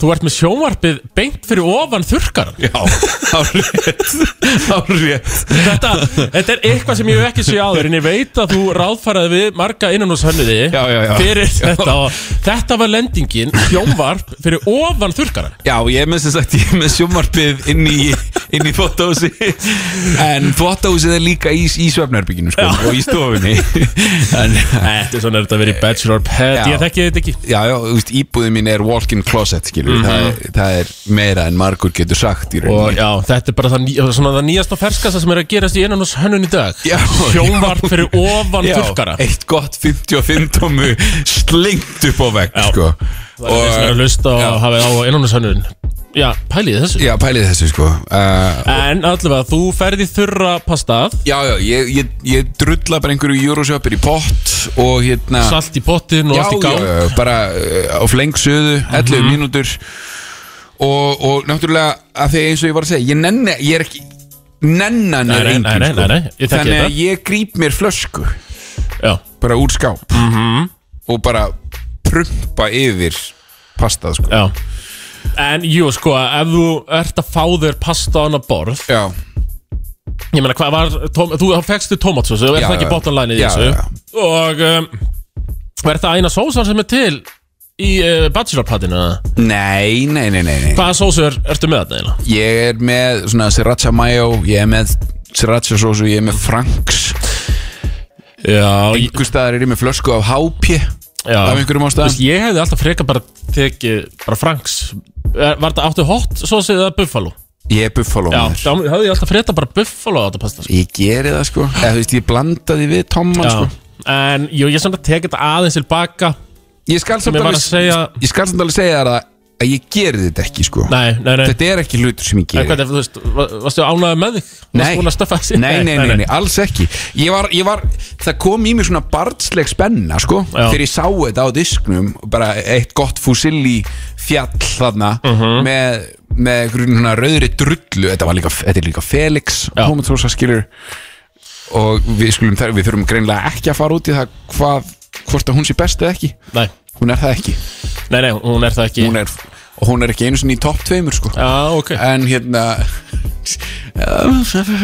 S3: þú ert með sjónvarpið beint fyrir ofan þurrkaran
S2: Já, árið Árið
S3: þetta, þetta er eitthvað sem ég hef ekki séð áður en ég veit að þú ráðfæraði við marga innan hos hönnuði
S2: Já, já, já.
S3: fyrir þetta og þetta var lendingin sjónvarp fyrir ofan þurrkaran
S2: Já, ég er með sem sagt, ég er með sjómarpið inn í, inn í þvóttahúsi En þvóttahúsið er líka í, í svefnherbygginu, sko, og í stofunni En,
S3: Þetta er svona þetta að vera í bachelor pet
S2: Já.
S3: ég þekki þetta ekki
S2: já, já, þú veist, íbúðin mín er walk-in closet, skilur
S3: Mhm.
S2: mm það, er- það er meira en margur getur sagt í
S3: og
S2: rauninni
S3: já, þetta er bara það, ný, svona, það nýjast og ferskasta sem er að gerast í innan hos hönnun í dag
S2: Já.
S3: sjónvarp fyrir ofan
S2: Já,
S3: þurrkara
S2: eitt gott 55 tómu slengt upp á vegg,
S3: Já.
S2: sko
S3: Það er sem er að lusta og hafa á innanúshönnun Já, pæliði þessu
S2: Já, pælið þessu sko uh,
S3: En allavega, þú ferði þurra pastað
S2: Já, já, ég, ég, ég drulla bara einhverju júrósjöpir í pott og hérna
S3: Salt í pottin og
S2: já,
S3: allt í
S2: já,
S3: gang Mhm.
S2: já, bara uh, á flengsuðu 11 mínútur og, og náttúrulega að því eins og ég var að segja ég nenni, ég er ekki nennan
S3: Nei,
S2: er
S3: nei,
S2: engin
S3: nei, nei,
S2: sko.
S3: nei, nei, ég þekki
S2: þannig að
S3: þetta.
S2: ég grýp mér flösku
S3: Já,
S2: bara úr skáp
S3: Mhm.
S2: og bara prumpa yfir pastað sko
S3: já En jú, sko, ef þú ert að fá þér pasta á hana borð
S2: já,
S3: Ég meina, hvað var, tóm, þú fegstu tomatsósu, er
S2: Já,
S3: það ekki
S2: já.
S3: bottom line í
S2: Já,
S3: þessu?
S2: já, já.
S3: Og um, er það eina sósan sem er til í uh, bachelorpattinu? eða?
S2: nei, nei, nei, nei, nei.
S3: Hvaða sósu er, ertu með þetta eiginlega?
S2: ég er með svona sriracha mayo ég er með sriracha sósu, ég er með franks
S3: Já, ég,
S2: einhver staðar er ég með flösku af hápje
S3: já.
S2: af einhverjum
S3: Þú
S2: ástæðan
S3: veist, ég hefði alltaf freka bara tekið bara franks Er- Var þetta áttu hot sósu eða buffalo?
S2: ég er buffalo
S3: Já,
S2: maður.
S3: þá hefði ég alltaf freka bara buffalo á þetta pasta sko.
S2: Ég geri það sko Eða þú veist, ég blanda því við Tomman
S3: Já,
S2: sko
S3: en jú, ég svona tekið þetta aðeins til baka
S2: Ég skal samt
S3: Mér var
S2: alveg
S3: að segja
S2: Ég skal samt alveg segja þér að, að ég geri þetta ekki sko
S3: Nei, nei, nei
S2: Þetta er ekki hlutur sem ég
S3: En
S2: geri
S3: hvað er, þú veist, va- varstu ánægður með þig?
S2: Nei.
S3: Varstu búin að stöffa þessi?
S2: Nei, nei, nei, nei, alls ekki ég var, ég var, Það kom í mig svona barnsleg spenna sko,
S3: Já.
S2: Þegar ég sá þetta á disknum Bara eitt gott fusilli fjall þarna
S3: Mhm.
S2: Með, með einhverjum svona rauðri drullu Þetta, var líka, þetta er líka Felix
S3: Já.
S2: Homatósa skilur Og við, skulum, þar- við þurfum greinlega ekki að fara út í það hvað, Hvort að hún sé best eða ekki
S3: nei
S2: Hún er það ekki
S3: Nei, nei, hún er það ekki
S2: hún er, Og hún er ekki einu sinni í topp tveimur sko.
S3: Já, ok
S2: En hérna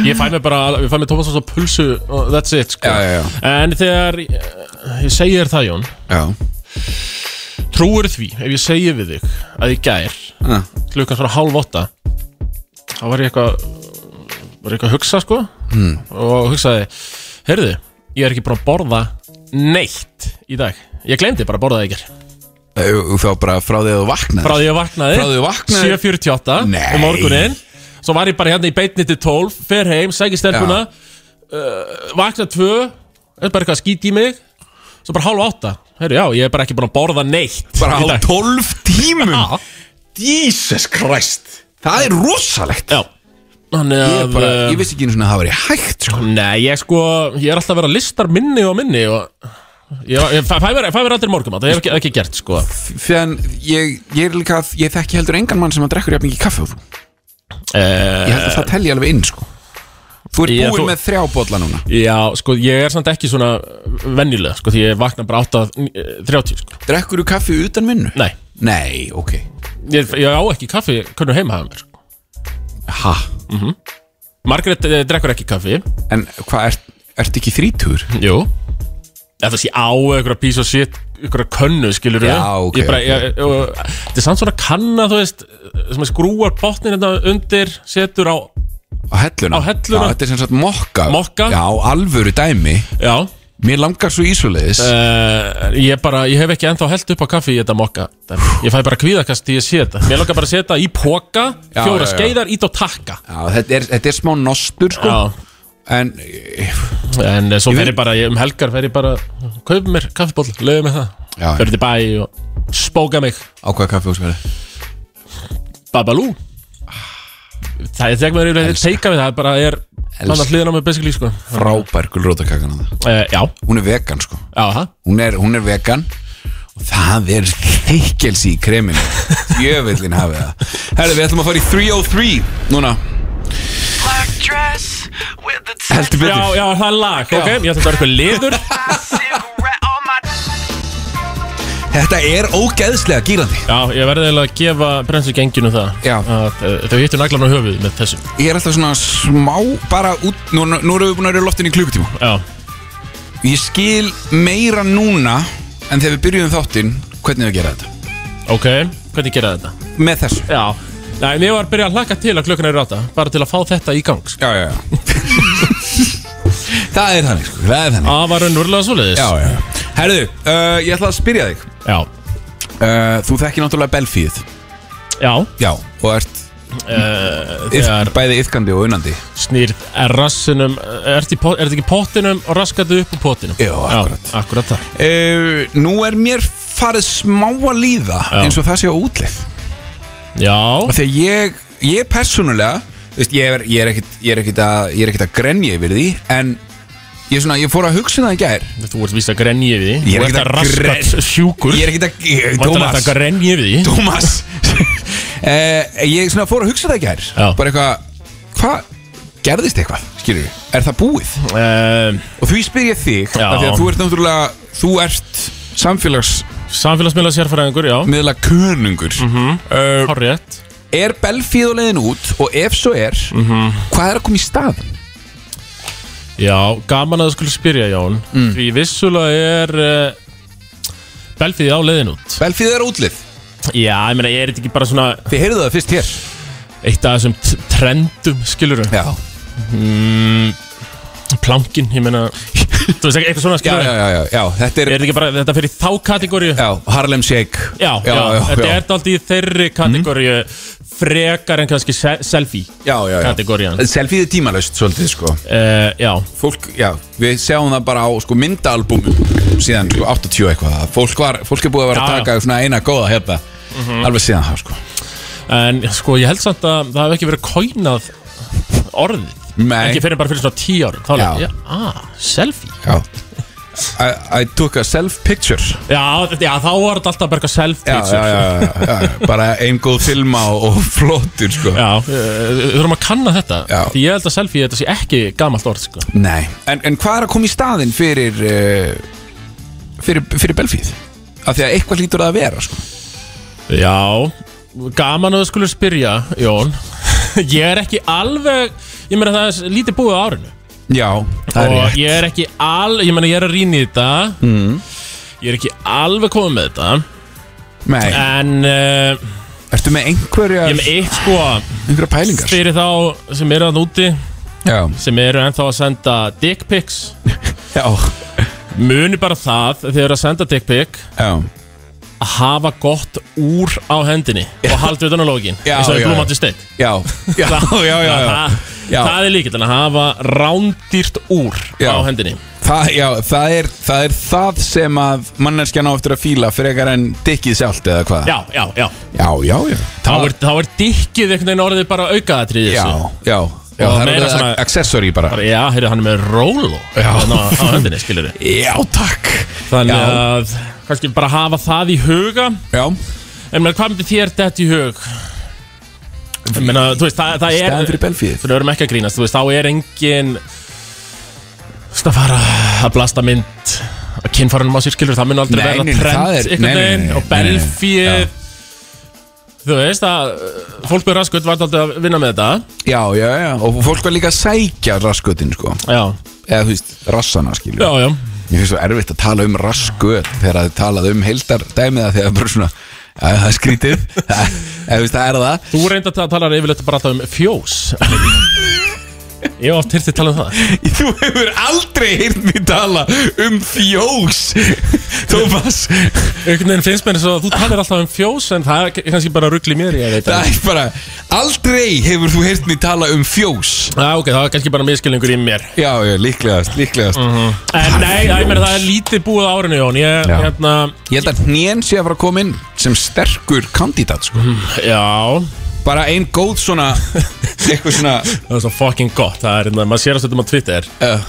S3: Ég fæ mér bara, ég fæ mér Tómas og pulsu og that's it, sko
S2: Já, já, já.
S3: En þegar eh, ég segi þér það, Jón
S2: Já,
S3: Trúir því, ef ég segi við þig að ég gær
S2: já.
S3: klukkan svona hálf åtta þá var ég eitthvað var ég eitthvað að hugsa sko hmm. og hugsaði, heyrðu ég er ekki búin að borða neitt í dag, ég glemdi bara að borða það ekki
S2: Þá bara frá því að þú vaknaði
S3: frá því ég vaknaði,
S2: Frá því ég vaknaði?
S3: 7.48
S2: Nei.
S3: um morgunin svo var ég bara hérna í beitni til 12 fer heim, sæki stelpuna uh, vakna 2 er bara eitthvað skýt í mig svo bara hálf átta, heyrðu já, ég er bara ekki búin að borða neitt
S2: Bara
S3: í
S2: á
S3: dag.
S2: 12 tímum
S3: Já.
S2: Jesus Christ Það er rosalegt
S3: já, þannig að
S2: Ég, bara,
S3: um,
S2: ég vissi ekki einu svona að það væri hægt sko.
S3: Nei, ég sko, ég er alltaf að vera listar minni og minni og ég, ég fæ, fæ, mér, fæ mér aldrei morgum það hef ekki, ekki gert sko
S2: Þegar ég, ég er líka að Ég þekki heldur engan mann sem að drekkur jafn ekki kaffe og þú Ég
S3: eh,
S2: held að það telji alveg inn sko. Þú ert
S3: Ég-
S2: búinn
S3: þú-
S2: með þrjá bolla núna
S3: Já, sko, ég er samt ekki svona venjulega, sko, því ég vakna bara 8.30 sko,
S2: Drekkur þú kaffe utan vinnu?
S3: nei
S2: Nei, ok
S3: ég, ég á ekki kaffi, hvernig heima hafa mér sko.
S2: ha.
S3: Margrét eh, drekkur ekki kaffi
S2: En hvað, ert, ert ekki þrítur?
S3: Jú Þetta sé á einhverja piece of shit einhverja könnu, skilur við
S2: Já, ok,
S3: ég bara, ég, og, Þetta er samt svona kanna, þú veist sem að skrúar botnin þetta undir setur á,
S2: Á helluna?
S3: Á helluna.
S2: Já, þetta er sem sagt mokka
S3: Mokka.
S2: Já, alvöru dæmi
S3: já
S2: Mér langar svo ísvoleiðis
S3: Uh, ég bara, ég hef ekki ennþá held upp á kaffi í þetta mokka dæmi. Ég fæ bara kvíðakast því ég sé þetta Mér langar bara að setja í póka
S2: Já,
S3: Fjóra
S2: já, já.
S3: skeiðar, ít og takka
S2: Já, þetta er, þetta er smá nostur sko
S3: Já,
S2: En
S3: en eh, svo
S2: Ég
S3: fer
S2: vil-
S3: ég bara, ég, um helgar fer ég bara Kaupi mér kaffiból, lögum mér það
S2: Já, já.
S3: Fyrir til bæ og spóka mig
S2: á hvað kaffi þú skalið?
S3: Babalú Það er þegar maður yfirlega að teika við það bara er Þannig að hliðina með basically sko uh,
S2: Frábær gulrótakakan á það
S3: Já,
S2: Hún er vegan sko
S3: já, það
S2: Hún er, hún er vegan Og það er þykkelsi í kreminu Jöfellin hafið það Herri, við ætlum að fara í 303 Núna,
S1: black dress with the
S2: heldur
S3: Já,
S2: betur
S3: já, það er lag, ok, ég ætla að það er eitthvað liður
S1: cigarette on my
S2: Þetta er ógeðslega gýrandi
S3: Já, ég verði eiginlega að gefa brennslu genginu um það
S2: Já.
S3: að, uh, Þau hittu naglan á höfuð með þessu
S2: Ég er alltaf svona smá Bara út, nú, nú erum við búin að vera í loftin í klukkutíma
S3: Já,
S2: Ég skil meira núna En þegar við byrjuðum þáttinn Hvernig við gera þetta
S3: ok, hvernig gera þetta?
S2: Með þessu
S3: Já, nei, mér var að byrja að hlaka til að klukkan er ráta Bara til að fá þetta í gang sko.
S2: Já, já, já Það er þannig, sko, það er þannig
S3: Það var raunverulega svoleiðis
S2: Já, já, já Herðu, uh, ég ætla að spyrja þig
S3: já,
S2: uh, Þú þekkir náttúrulega Belfíð
S3: já
S2: Já Og ert
S3: uh,
S2: yð,
S3: Þegar
S2: bæði yfkandi og unandi
S3: snýrð er rassinum Er þetta ekki pottinum og raskatu upp úr pottinum
S2: Jú, akkurat.
S3: Já, akkurat það
S2: uh, Eh, Nú er mér farið smá að líða
S3: Já.
S2: eins og það sé á útlið
S3: Já,
S2: og þegar ég, ég persónulega þú veist, ég, er, ég, er ekkit, ég er ekkit að ég er ekkit að grenja yfir því en ég, er svona, ég fór að hugsa um það í gær
S3: þú ert víst að grenja yfir því
S2: Ég er
S3: Þú
S2: ekkert
S3: ert að
S2: að
S3: raska
S2: grenja.
S3: sjúkur
S2: ég er ekkit að ég,
S3: Vandalega þetta
S2: Thomas,
S3: grenja yfir því
S2: Thomas eh, ég svona fór að hugsa það í gær
S3: Já.
S2: bara eitthvað, hvað gerðist eitthvað skilur við, er það búið
S3: uh,
S2: og því spyr ég þig,
S3: Já.
S2: af því að þú ert náttúrulega þú ert samfélagsmiðla
S3: Samfélagsmiðla sérfæræðingur, já
S2: könungur uh,
S3: Hárétt
S2: er Belfíð á leiðin út og ef svo er hvað er að koma í staðin?
S3: Já, gaman að þú skulle spyrja Jón
S2: Mm.
S3: Því vissulega er uh, Belfiði á leiðin út
S2: Belfíð er útlið
S3: Já, ég meina, ég er þetta ekki bara svona
S2: Þið heyrðu það fyrst hér
S3: Eitt af þessum t- trendum, skilur
S2: Já,
S3: mm, Plankin, ég meina Þú veist ekki, eitthvað svona
S2: já,
S3: skilur
S2: já, já, já, já. Þetta er
S3: Er þetta ekki bara, þetta fyrir þá kategóriu
S2: já, Harlem Shake
S3: Já, já, þetta
S2: já,
S3: er dalt í þeirri kategóriu frekar en kannski se selfie
S2: já, já, já.
S3: kategórian
S2: Selfie er tímalöst svolítið sko
S3: uh, Já,
S2: Fólk, já, við sjáum það bara á sko myndaalbum síðan sko 80 eitthvað Fólk, var, fólk er búið að vera
S3: Já,
S2: að
S3: já.
S2: taka svona eina góða hefða Alveg síðan það sko
S3: en sko ég held samt að það hef ekki verið kóinað orðið
S2: Nei.
S3: Ekki fyrir bara fyrir svona tíu árum Þá
S2: Já.
S3: leik, já, ah, selfie
S2: Já I, I took a self-picture
S3: Já, þetta, já, þá var þetta alltaf bara eitthvað
S2: já,
S3: selfie
S2: já, já, já, já, bara ein góð filma og, og flottur sko
S3: já eh, Við þurfum að kanna þetta
S2: Já.
S3: Því ég held að selfie þetta sé ekki gamalt orð sko.
S2: Nei, en, en hvað er að koma í staðinn fyrir, uh, fyrir, fyrir Belfíð? Af því að eitthvað lítur það að vera sko.
S3: Já, gaman að þú skulur spyrja, Jón Ég er ekki alveg, ég meina það er lítið búið á árinu
S2: Já, það
S3: og
S2: er ég
S3: ég er ekki al, ég meina ég er að rýna í þetta
S2: Mm.
S3: ég er ekki alveg komið með þetta
S2: Nei,
S3: en uh,
S2: ertu með einhverjar,
S3: ég er með eitt sko
S2: einhverjar pælingar?
S3: fyrir þá sem eru að úti
S2: Já,
S3: sem eru ennþá að senda dick pics
S2: já,
S3: muni bara það þegar þið eru að senda dick pic
S2: já
S3: að hafa gott úr á hendinni og halda utan á lógin
S2: Já,
S3: eins og
S2: já,
S3: við
S2: já.
S3: blómandi stein
S2: Já, já, já, já, já, já.
S3: Það,
S2: Já.
S3: það er líkilega að hafa rándýrt úr
S2: Já.
S3: á hendinni
S2: Það, já það, er, það er það sem að manneskjan á eftir að fíla frekar en dikkið sjálft eða hvað
S3: Já, já, já
S2: já, já, já.
S3: Þá er, þá er dikkið einhvern veginn orðið bara aukaðatrið
S2: Já, já, já,
S3: Og
S2: það er
S3: meira
S2: orðið
S3: svona-
S2: accessory bara
S3: bara, já, heyrðu, hann er með rólo
S2: Já.
S3: Þarna á, á hendinni, skilur við
S2: Já, takk
S3: þannig
S2: Já.
S3: að kannski bara hafa það í huga en
S2: Já,
S3: menn, hvað myndi þér þetta í hug? Ég meina, þú veist, það, það er
S2: staðan fyrir Belfíð
S3: fyrir örum ekki að grínast, þú veist, þá er engin þú veist, að fara að blasta mynd að kynfærunum á sér skilur, það mun aldrei
S2: Nei, nei,
S3: verða
S2: nei, það er-
S3: trend
S2: nei,
S3: einhvern
S2: nei,
S3: veginn
S2: nei,
S3: og
S2: nei, nei, nei,
S3: belfið þú veist, að uh, fólk byrja raskut var aldrei að vinna með þetta
S2: Já, já, já, og fólk var líka að sækja raskutin, sko
S3: já,
S2: eða þú veist, rassana skilur
S3: já, já
S2: Mér finnst svo erfitt að tala um rasköt þegar þið talað um heildar dæmið að þegar bara svona, já, það er skrítið eða þú veist, það er það
S3: Þú reynda að tala yfirleitt bara alltaf um fjós Ég hef oft hirtið tala um það
S2: Þú hefur aldrei heyrt mér tala um fjós Thomas,
S3: Einhvern veginn finnst mér eins og þú talar alltaf um fjós En það er kannski bara ruggli mér ég veit
S2: það er bara aldrei hefur þú heyrt mér tala um fjós
S3: Já Ah, ok, það er kannski bara miskilningur í mér
S2: Já, já, líklegast, líklegast
S3: En nei, það er, mér, það er lítið búið á árinu Jón Ég,
S2: Já.
S3: hérna,
S2: Ég held að hnén sé að fara að koma inn sem sterkur kandidat, sko
S3: Mhm. já
S2: Bara ein góð svona, eitthvað svona
S3: Það er svo fucking gott Það er, hérna, maður sér að stundum á Twitter
S2: uh,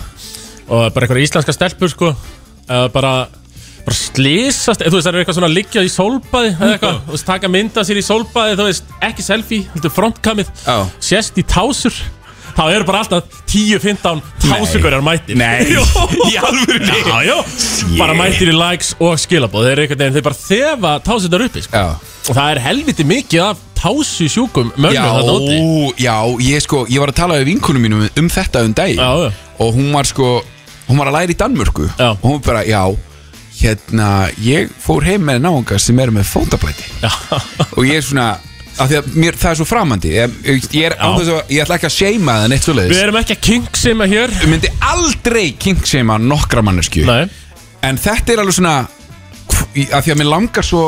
S3: Og bara einhverja íslenska stelpur, sko uh, Bara bara slísast, þú veist það eru eitthvað svona að liggja í sólbaði eða eitthvað, þú veist taka mynda sér í sólbaði þú veist, ekki selfie, heldur frontkamið
S2: Já.
S3: sérst í tásur þá eru bara alltaf 10-15 tásugurar mættir
S2: Nei.
S3: Jó.
S2: Í alvörunni?
S3: já, já. bara mættir í likes og skilabóð þeir eru einhvern veginn, þeir bara þefa tásunar uppi sko.
S2: Já
S3: og það er helviti mikið af tásu sjúkum mönnum
S2: Já,
S3: þarna úti
S2: já, ég sko, ég var að tala við vinkunum mínum um þetta um dag
S3: Já, já.
S2: og hún var sko, hún var að læra í Danmörku
S3: Já.
S2: og hún bara, já, hérna ég fór heim með náunga sem er með fótablæti
S3: já,
S2: og ég er svona, af því að mér, það er svo framandi ég, ég er á
S3: Já.
S2: þess að, ég ætla ekki að seima það neitt
S3: við
S2: svoleiðis,
S3: erum ekki að kingsima hér
S2: ég myndi aldrei kinkseima nokkra manneskju
S3: nei,
S2: en þetta er alveg svona hv- af því að mér langar svo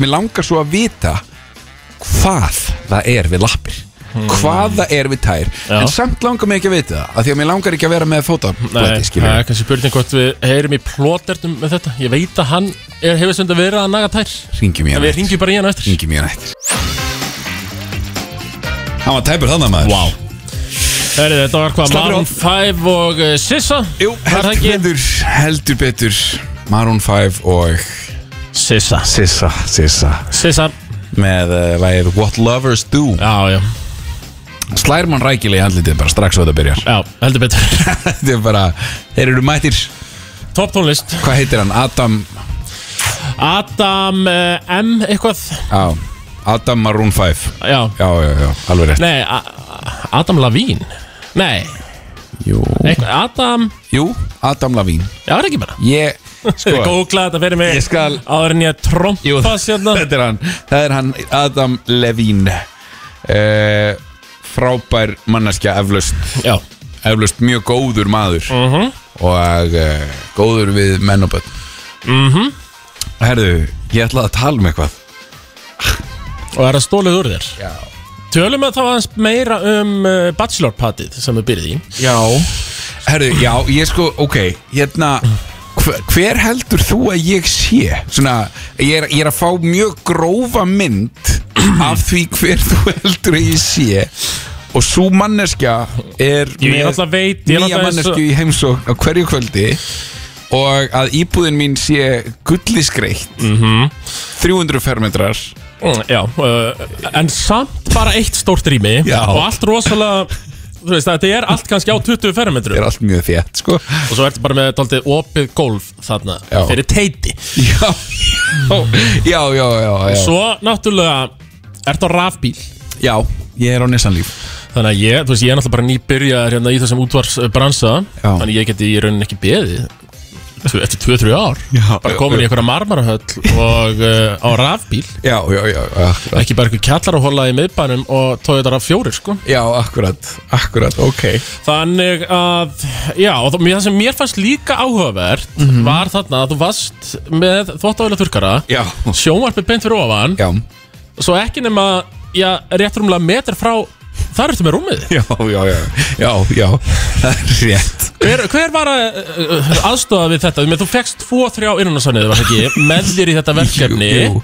S2: mér langar svo að vita hvað það er við lappir hvað það er við tær
S3: Hmm. Já.
S2: en samt langar mig ekki að vita það af því að mér langar ekki að vera með fótablæti
S3: Nei, það er kannski spurning hvort við heyrum í ploternum með þetta Ég veit að hann er, hefur sem þetta verið að naga tær
S2: ringjum ég
S3: En við ringjum bara í hann eftir
S2: ringjum ég nætt hann var tæpur þannig maður
S3: Vá Heri, Þetta var hvað
S2: Slappur
S3: Maroon
S2: af.
S3: 5 og uh, Sissa
S2: Jú,
S3: Var það
S2: heldur
S3: ekki?
S2: betur, heldur betur Maroon 5 og
S3: Sissa
S2: Sissa, Sissa
S3: Sissa
S2: með uh, lagið What Lovers Do
S3: Já, já,
S2: slær mann rækilega í andlitið bara strax og þetta byrjar
S3: já, heldur betur
S2: þetta er bara, þeir eru mættir
S3: Top tónlist
S2: hvað heitir hann, Adam
S3: Adam uh, M eitthvað
S2: á, Adam Maroon 5
S3: Já,
S2: já, já, já, alveg rétt
S3: nei, A A- Adam Lavín Nei,
S2: Jú,
S3: eitthvað, Adam
S2: Jú Adam Lavín
S3: Já, er ekki bara
S2: ég, sko,
S3: Gókla þetta fyrir mig
S2: Ég skal-
S3: Áður en ég hérna.
S2: Jú,
S3: trompa sérna
S2: þetta er hann það er hann, Adam Levine uh, frábær manneskja eflaust
S3: Já,
S2: eflaust mjög góður maður
S3: mhm
S2: og uh, góður við menn og bönn
S3: Mhm.
S2: Herðu, ég ætlaði að tala um eitthvað
S3: Og er það stólið úr þér
S2: Já
S3: Tölum við þá aðeins meira um uh, bachelor partyð sem við byrjið í
S2: Já Herðu, já, ég sko, ok Hérna, hver, hver heldur þú að ég sé? Svona, ég er, ég er að fá mjög grófa mynd af því hver þú heldur að ég sé og svo manneskja er
S3: Jú, ég
S2: með
S3: náttúrulega veit, ég
S2: nýja
S3: náttúrulega er svo-
S2: manneskju í heimsók á hverju kvöldi og að íbúðin mín sé gulliskreitt mm
S3: Mhm.
S2: -hmm. 300 fermetrar
S3: Mm, Já, uh, en samt bara eitt stórt rými
S2: Já.
S3: og allt rosalega þú veist, þetta er allt kannski á 20 fermetrum
S2: er allt mjög þétt sko
S3: og svo ertu bara með tóltið opið gólf þarna
S2: Já.
S3: fyrir teiti
S2: já já já já, já.
S3: svo náttúrulega ertu á rafbíl
S2: já ég er á nesan líf
S3: þannig að ég, þú veist, ég er náttúrulega bara nýbyrjaður hérna í þessum útvarsbransa
S2: Já.
S3: þannig að ég geti í rauninni ekki beðið Tvö- eftir 2-3 ár
S2: Já.
S3: bara komin í einhverja marmarahöll og uh, á rafbíl
S2: já já já akkurat.
S3: ekki bara einhver kjallarahóla í miðbænum og tóið þetta fjórir sko
S2: já akkurat akkurat ok
S3: Þannig að, já, og það, mér- það sem mér fannst líka áhugavert var þarna að þú varst með þvóttavæla þurkara,
S2: Mhm. já
S3: sjónvarpið beint fyrir ofan,
S2: já
S3: svo ekki nema, já, rétt rúmlega metr frá, þar ertu með rúmið.
S2: já já já já já það er rétt
S3: Hver, hver var að uh, aðstofa við þetta? Ég meina, Þú fegst tvo, þrjá innanarsanniði, var það ekki, með þér í þetta verkefni
S2: jú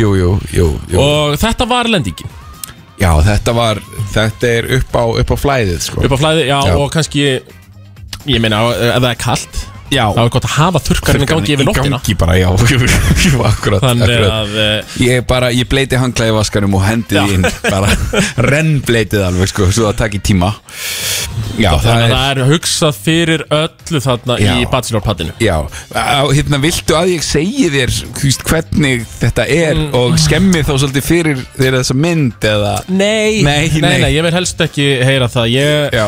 S2: jú jú, jú, jú.
S3: og þetta var lendingin.
S2: já þetta var þetta er upp á upp á flæðið sko
S3: Upp á flæði, já,
S2: Já.
S3: og kannski, ég meina, ef það er kalt,
S2: já
S3: þá er gott að hafa þurkarinn í gangi yfir
S2: Í
S3: nóttina.
S2: gangi bara já jú, jú akkurat
S3: Þannig
S2: akkurat.
S3: að... Uh,
S2: Ég bara, ég bleiti hanglaði vaskanum og hendið
S3: Já.
S2: því inn bara rennbleitið alveg sko, svo það takk í tíma Já, það
S3: Þannig að
S2: er
S3: það er hugsað fyrir öllu þarna
S2: Já.
S3: í bachelorpattinu
S2: Já, á, hérna viltu að ég segi þér hvist, hvernig þetta er
S3: Mm.
S2: og skemmi þá svolítið fyrir þér þessa mynd eða
S3: Nei,
S2: Nei,
S3: nei,
S2: nei.
S3: ég vil helst ekki heyra það Ég,
S2: Já,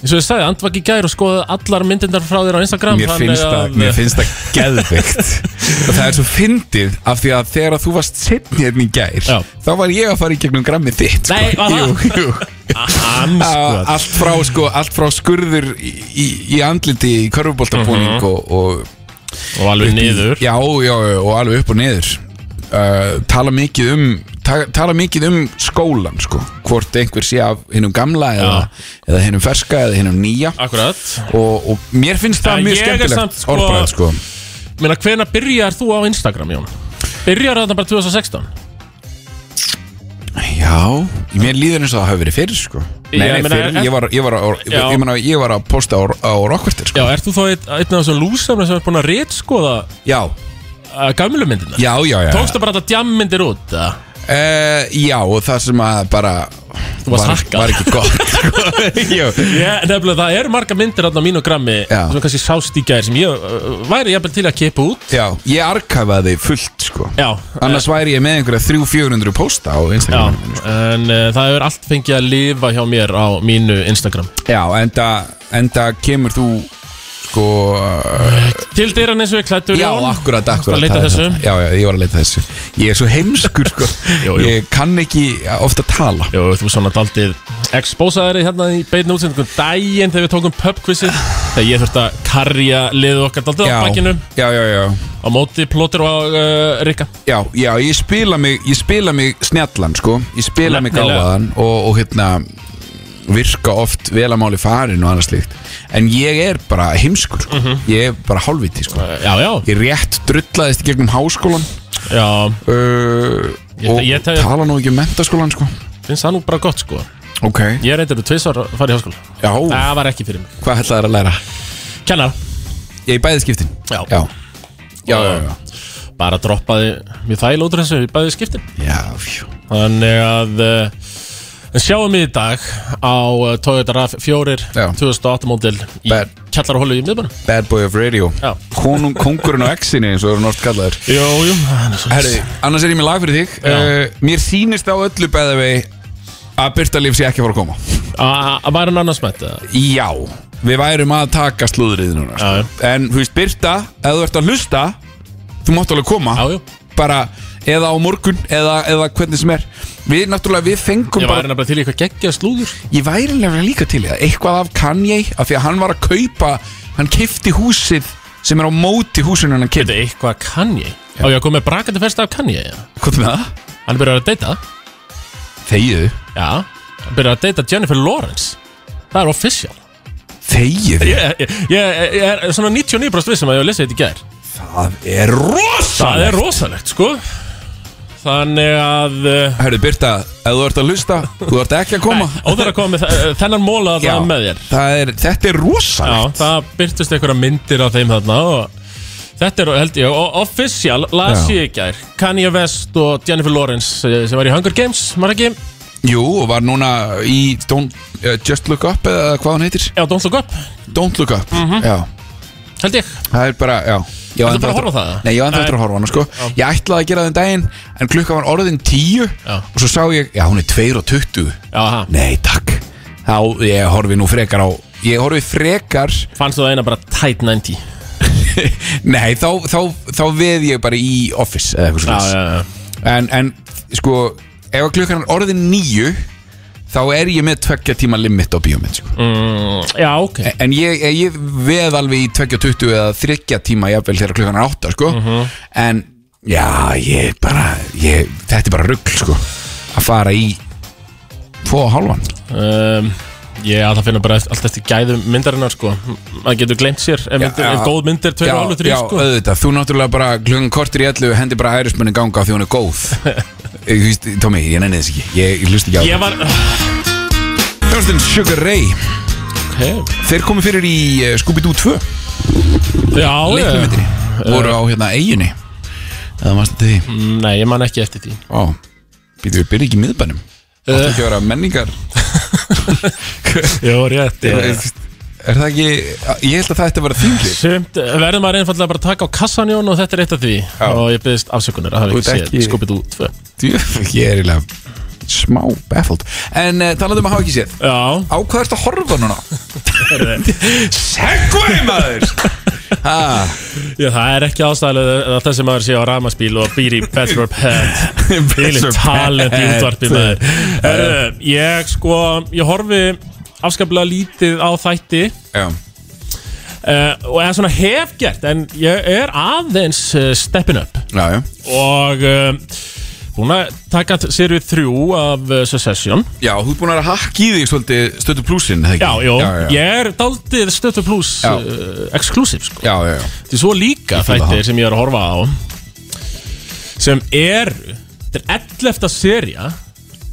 S3: eins og ég sagði, andvak í gær og skoði allar myndindar frá þér á Instagram
S2: mér
S3: þannig
S2: finnst,
S3: að-
S2: það, mér finnst það geðveikt og það er svo fyndið af því að þegar að þú varst setni hérna í gær
S3: Já.
S2: þá var ég að fara í gegnum grammið þitt sko.
S3: Nei, var
S2: jú,
S3: það?
S2: jú.
S3: Andskot.
S2: Á, allt frá sko, allt frá skurður í, í, í andliti í körfuboltabúning
S3: Mhm.
S2: og, og
S3: Og alveg niður
S2: já, já, já, og alveg upp og niður uh, tala mikið um ta, tala mikið um skólan sko, hvort einhver sé af hinnum gamla eða, eða hinnum ferska eða hinnum nýja
S3: Akkurat
S2: og, og mér finnst það
S3: En
S2: mjög
S3: ég er samt,
S2: skemmtilegt
S3: sko-
S2: orðbræð sko.
S3: Meina, hvenær byrjar þú á Instagram, Jón? Byrjar þarna bara 2016?
S2: já, mér líður eins og það hafi verið fyrir sko.
S3: Ég
S2: nei, nei,
S3: meina,
S2: fyrir,
S3: er-
S2: ég var, ég var, að,
S3: Já.
S2: ég, meina, ég var að posta á, á rockvertir
S3: Já,
S2: sko.
S3: ert þú þá einn, einn af þessum lúsamna sem er búin að rétskoða
S2: já,
S3: uh, gamlu myndindar?
S2: já, já, já.
S3: Tókstu bara þetta djammyndir út? eða?
S2: Uh, já, og það sem að bara
S3: varst
S2: var,
S3: hakkað.
S2: var ekki gott sko. Jú.
S3: Já, nefnilega, það eru marga myndir þarna á mínu grammi
S2: Já.
S3: sem kannski sást í gær sem ég uh, væri jafnvel til að kipa út
S2: Já, ég arkafaði fullt sko
S3: Já,
S2: Annars væri ég með einhverja 300-400 pósta á
S3: Eh, Já,
S2: Instagram
S3: en uh, það hefur allt fengið að lifa hjá mér á mínu Instagram
S2: Já, enda, enda kemur þú sko
S3: Til dyrran eins og ég klættur
S2: Já,
S3: Jón.
S2: akkurat,
S3: Varstu
S2: akkurat
S3: að leita
S2: það er
S3: þessu?
S2: þarna. Já, já, ég var að leita þessu Ég er svo heimskur sko
S3: Jú, jú.
S2: Ég kann ekki ofta tala
S3: um Jú, þú svona daldið Exposaðari hérna í beinu útsendingum daginn þegar við tókum pubquizið Þegar ég þurfti að karja liðu okkar daldið á bakkinu
S2: já, já, já,
S3: Á móti plótir og uh, rikka
S2: já, já, ég spila mig, ég spila mig snjallan, sko Ég spila mig
S3: Nefnilega.
S2: gáðan og, og hérna virka oft vel að máli farin og annað slíkt En ég er bara heimskur, sko
S3: Mhm.
S2: Ég er bara hálfviti, sko
S3: Eh, Já, já,
S2: Ég rétt drullaðist í gegnum háskólan
S3: já,
S2: uh,
S3: Ég-
S2: Og
S3: ég tel-
S2: tala nú ekki um mentaskólan, sko
S3: finnst það nú bara gott sko
S2: Ok, Ah.
S3: Ég reyndir þú tvisvar að fara í háskóla
S2: já,
S3: Það var ekki fyrir mig
S2: hvað ætlaðir að læra?
S3: Kennar
S2: Ég í bæði skiptin
S3: Já.
S2: Já, já, já, já.
S3: Bara droppaði mér þæl út úr þessu í bæði skiptin
S2: Já, fjú.
S3: Þannig að uh, sjáum við í dag á uh, Toyota RAV4
S2: Já.
S3: 2008 módil í
S2: Bad.
S3: kjallarhólu í miðbænum
S2: Bad boy of radio
S3: Já.
S2: Konung, Kongurinn og exinni eins og eru nort kallaður
S3: Jú, jú hann er svo-
S2: Herri, annars er ég með lag fyrir þig
S3: Já.
S2: uh, Mér þýnist á öllu beðavei að Byrta Líf sé ekki að fara að koma
S3: A- a- Var hann annars með þetta?
S2: Já, við værum að taka slúðrið núna sko.
S3: Já,
S2: En þú veist, Byrta, ef þú ert að hlusta Þú mátt alveg koma
S3: Já, jú
S2: Bara, eða á morgun, eða, eða hvernig sem er Við, náttúrulega, við fengum
S3: Ég
S2: bara
S3: var nefnilega til í eitthvað geggja slúður
S2: Ég væri nefnilega líka til í það Eitthvað af Kanye Af því að hann var að kaupa Hann kifti húsið Sem er á móti húsinu hann
S3: Þetta
S2: kifti
S3: er eitthvað Kanye Á ég að koma með brakandi festa af Kanye ja.
S2: Hvað er með það?
S3: Hann er byrjar að deyta
S2: Þegiðu
S3: Já Hann byrjar að deyta Jennifer Lawrence Það er official
S2: Þegiðu
S3: Ég, ég, ég, ég er svona 99% vissum um að ég hef lesið þetta í gær
S2: Það er
S3: Það
S2: rosa
S3: er rosalegt sko Þannig að uh,
S2: Hörru Birta Ef þú ert að hlusta Þú ert ekki að koma
S3: Óþar að koma með þe- eh, þennan móla
S2: Já,
S3: þarna með þér
S2: það er, Þetta er rosa
S3: Já, það byrtust einhverja myndir af þeim þarna og þetta er, held ég, o- official las
S2: Já.
S3: ég í gær Kanye West og Jennifer Lawrence eh, sem var í Hunger Games, maður ekki
S2: Jú og var núna í don't, uh, Just Look Up Eða hvað hann heitir
S3: Já, Don't Look Up,
S2: Don't Look Up
S3: Mhm.
S2: Já
S3: held ég
S2: Það er bara, já Ég á ennþá
S3: Ertu bara að
S2: eftir-
S3: horfa á það?
S2: Nei, ég var ennþá
S3: Nei.
S2: eftir að horfa á hana, sko Ég ætlaði að gera það um daginn En klukka var orðin tíu
S3: Já.
S2: Og svo sá ég, já, hún er 2.20
S3: Já, ha,
S2: Nei, takk Þá, ég horfi nú frekar á Ég horfi frekar
S3: fannst þú það eina bara tight 90 Já,
S2: Nei, þá, þá, þá veð ég bara í Office eða eitthvað
S3: já,
S2: svona
S3: já
S2: en, en, sko, ef að klukkan er orðin níu Þá er ég með tveggja tíma limit á bíómynd, sko
S3: mm, Já, ok
S2: En ég, eh, ég- ég veð alveg í 20-20 eða 30 tíma jafnvel þegar klukkan er 8 sko.
S3: Mhm.
S2: En já, ég bara ég, Þetta er bara rugl sko. Að fara í Fó og hálfan
S3: um, Ég að það finna bara allt eftir gæðum myndarinnar sko Maður getur glemt sér ef, myndir,
S2: já.
S3: ef góð myndir tveir
S2: Já,
S3: og alveg þrý
S2: já eh.
S3: sko
S2: auðvitað, þú náttúrulega bara klukkan kortir í ellu hendi bara ærismenni ganga af því hún er góð Ég- þú veist, Tommy, ég nenni þess ekki Ég, ég hlust ekki á
S3: Ég var,
S2: það Þjórstin Sugar Ray,
S3: ok
S2: þeir komu fyrir í eh, Scooby-Doo 2
S3: Já, ég
S2: Leiknumyndinni, voru á hérna eiginni Eða maður stundi því
S3: Nei, ég man ekki eftir því
S2: Ó, býtu, við byrjum ekki í miðbænum Það er ekki að vera menningar
S3: Jó, rétt
S2: Eh, Er það ekki, ég held að það ætti að vera þinglið
S3: Sumt, verðum maður einfallega bara að taka á kassan Jón og þetta er eitt af því og ég byggðist afsökunar að hafa
S2: Þú
S3: ekki
S2: ert
S3: séð
S2: ekki-
S3: ekki... Scooby-Doo 2
S2: Ég er eiginlega smá baffled En uh, talandi um að hafa ekki séð
S3: Já,
S2: Á hvað ertu að horfa núna? Segway maður Ha,
S3: ég, það er ekki ástæðilega að þessi maður sé á ramaspíl og býr í Better Up Head Bíli
S2: Better Up
S3: talent í
S2: Head.
S3: útvarpi maður Herðu, Ég sko, ég horfi afskaplega lítið á þætti
S2: Já,
S3: uh, og er svona hef gert en ég er aðeins uh, steppin upp
S2: já, já,
S3: og uh, búin að taka serið þrjú af uh, Succession
S2: já þú ert búin að vera að hakka í þig svolítið stötu plúsin
S3: Já, já,
S2: já, já,
S3: ég er daldið stötu pluss
S2: Já.
S3: uh, exclusive sko
S2: já, já, já.
S3: Þetta er svo líka
S2: fíla
S3: þættir
S2: það.
S3: sem ég er að horfa á sem eru Þetta er 11. seria Þetta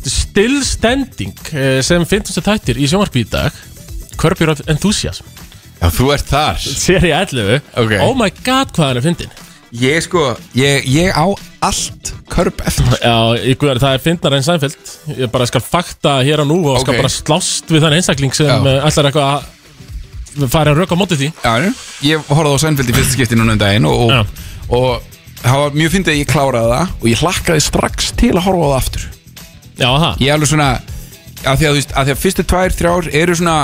S3: er still standing eh, sem finnst þættir í sjónvarpi í dag Körbjör af enthusiasm
S2: já þú ert þar
S3: Seria 11
S2: Ok.
S3: Oh my god hvað hann er fyndin
S2: Ég sko, ég, ég á allt körp eftir
S3: Já, ég guðar það er fyndnar en sæmfjöld Ég bara skal fakta hér og nú og skal
S2: Ok.
S3: bara slást við þann einstakling sem
S2: Já.
S3: eh, ætlar eitthvað að fara að röka á móti því
S2: Já, já. ég horfði á Seinfeld í fyrsta skipti núna um daginn og,
S3: Já.
S2: og, og það var mjög fyndið að ég kláraði það og ég hlakkaði strax til að horfa á það aftur
S3: Já, það
S2: Ég er alveg svona að því að, þú veist, að því að fyrstu tvær, þrjár eru svona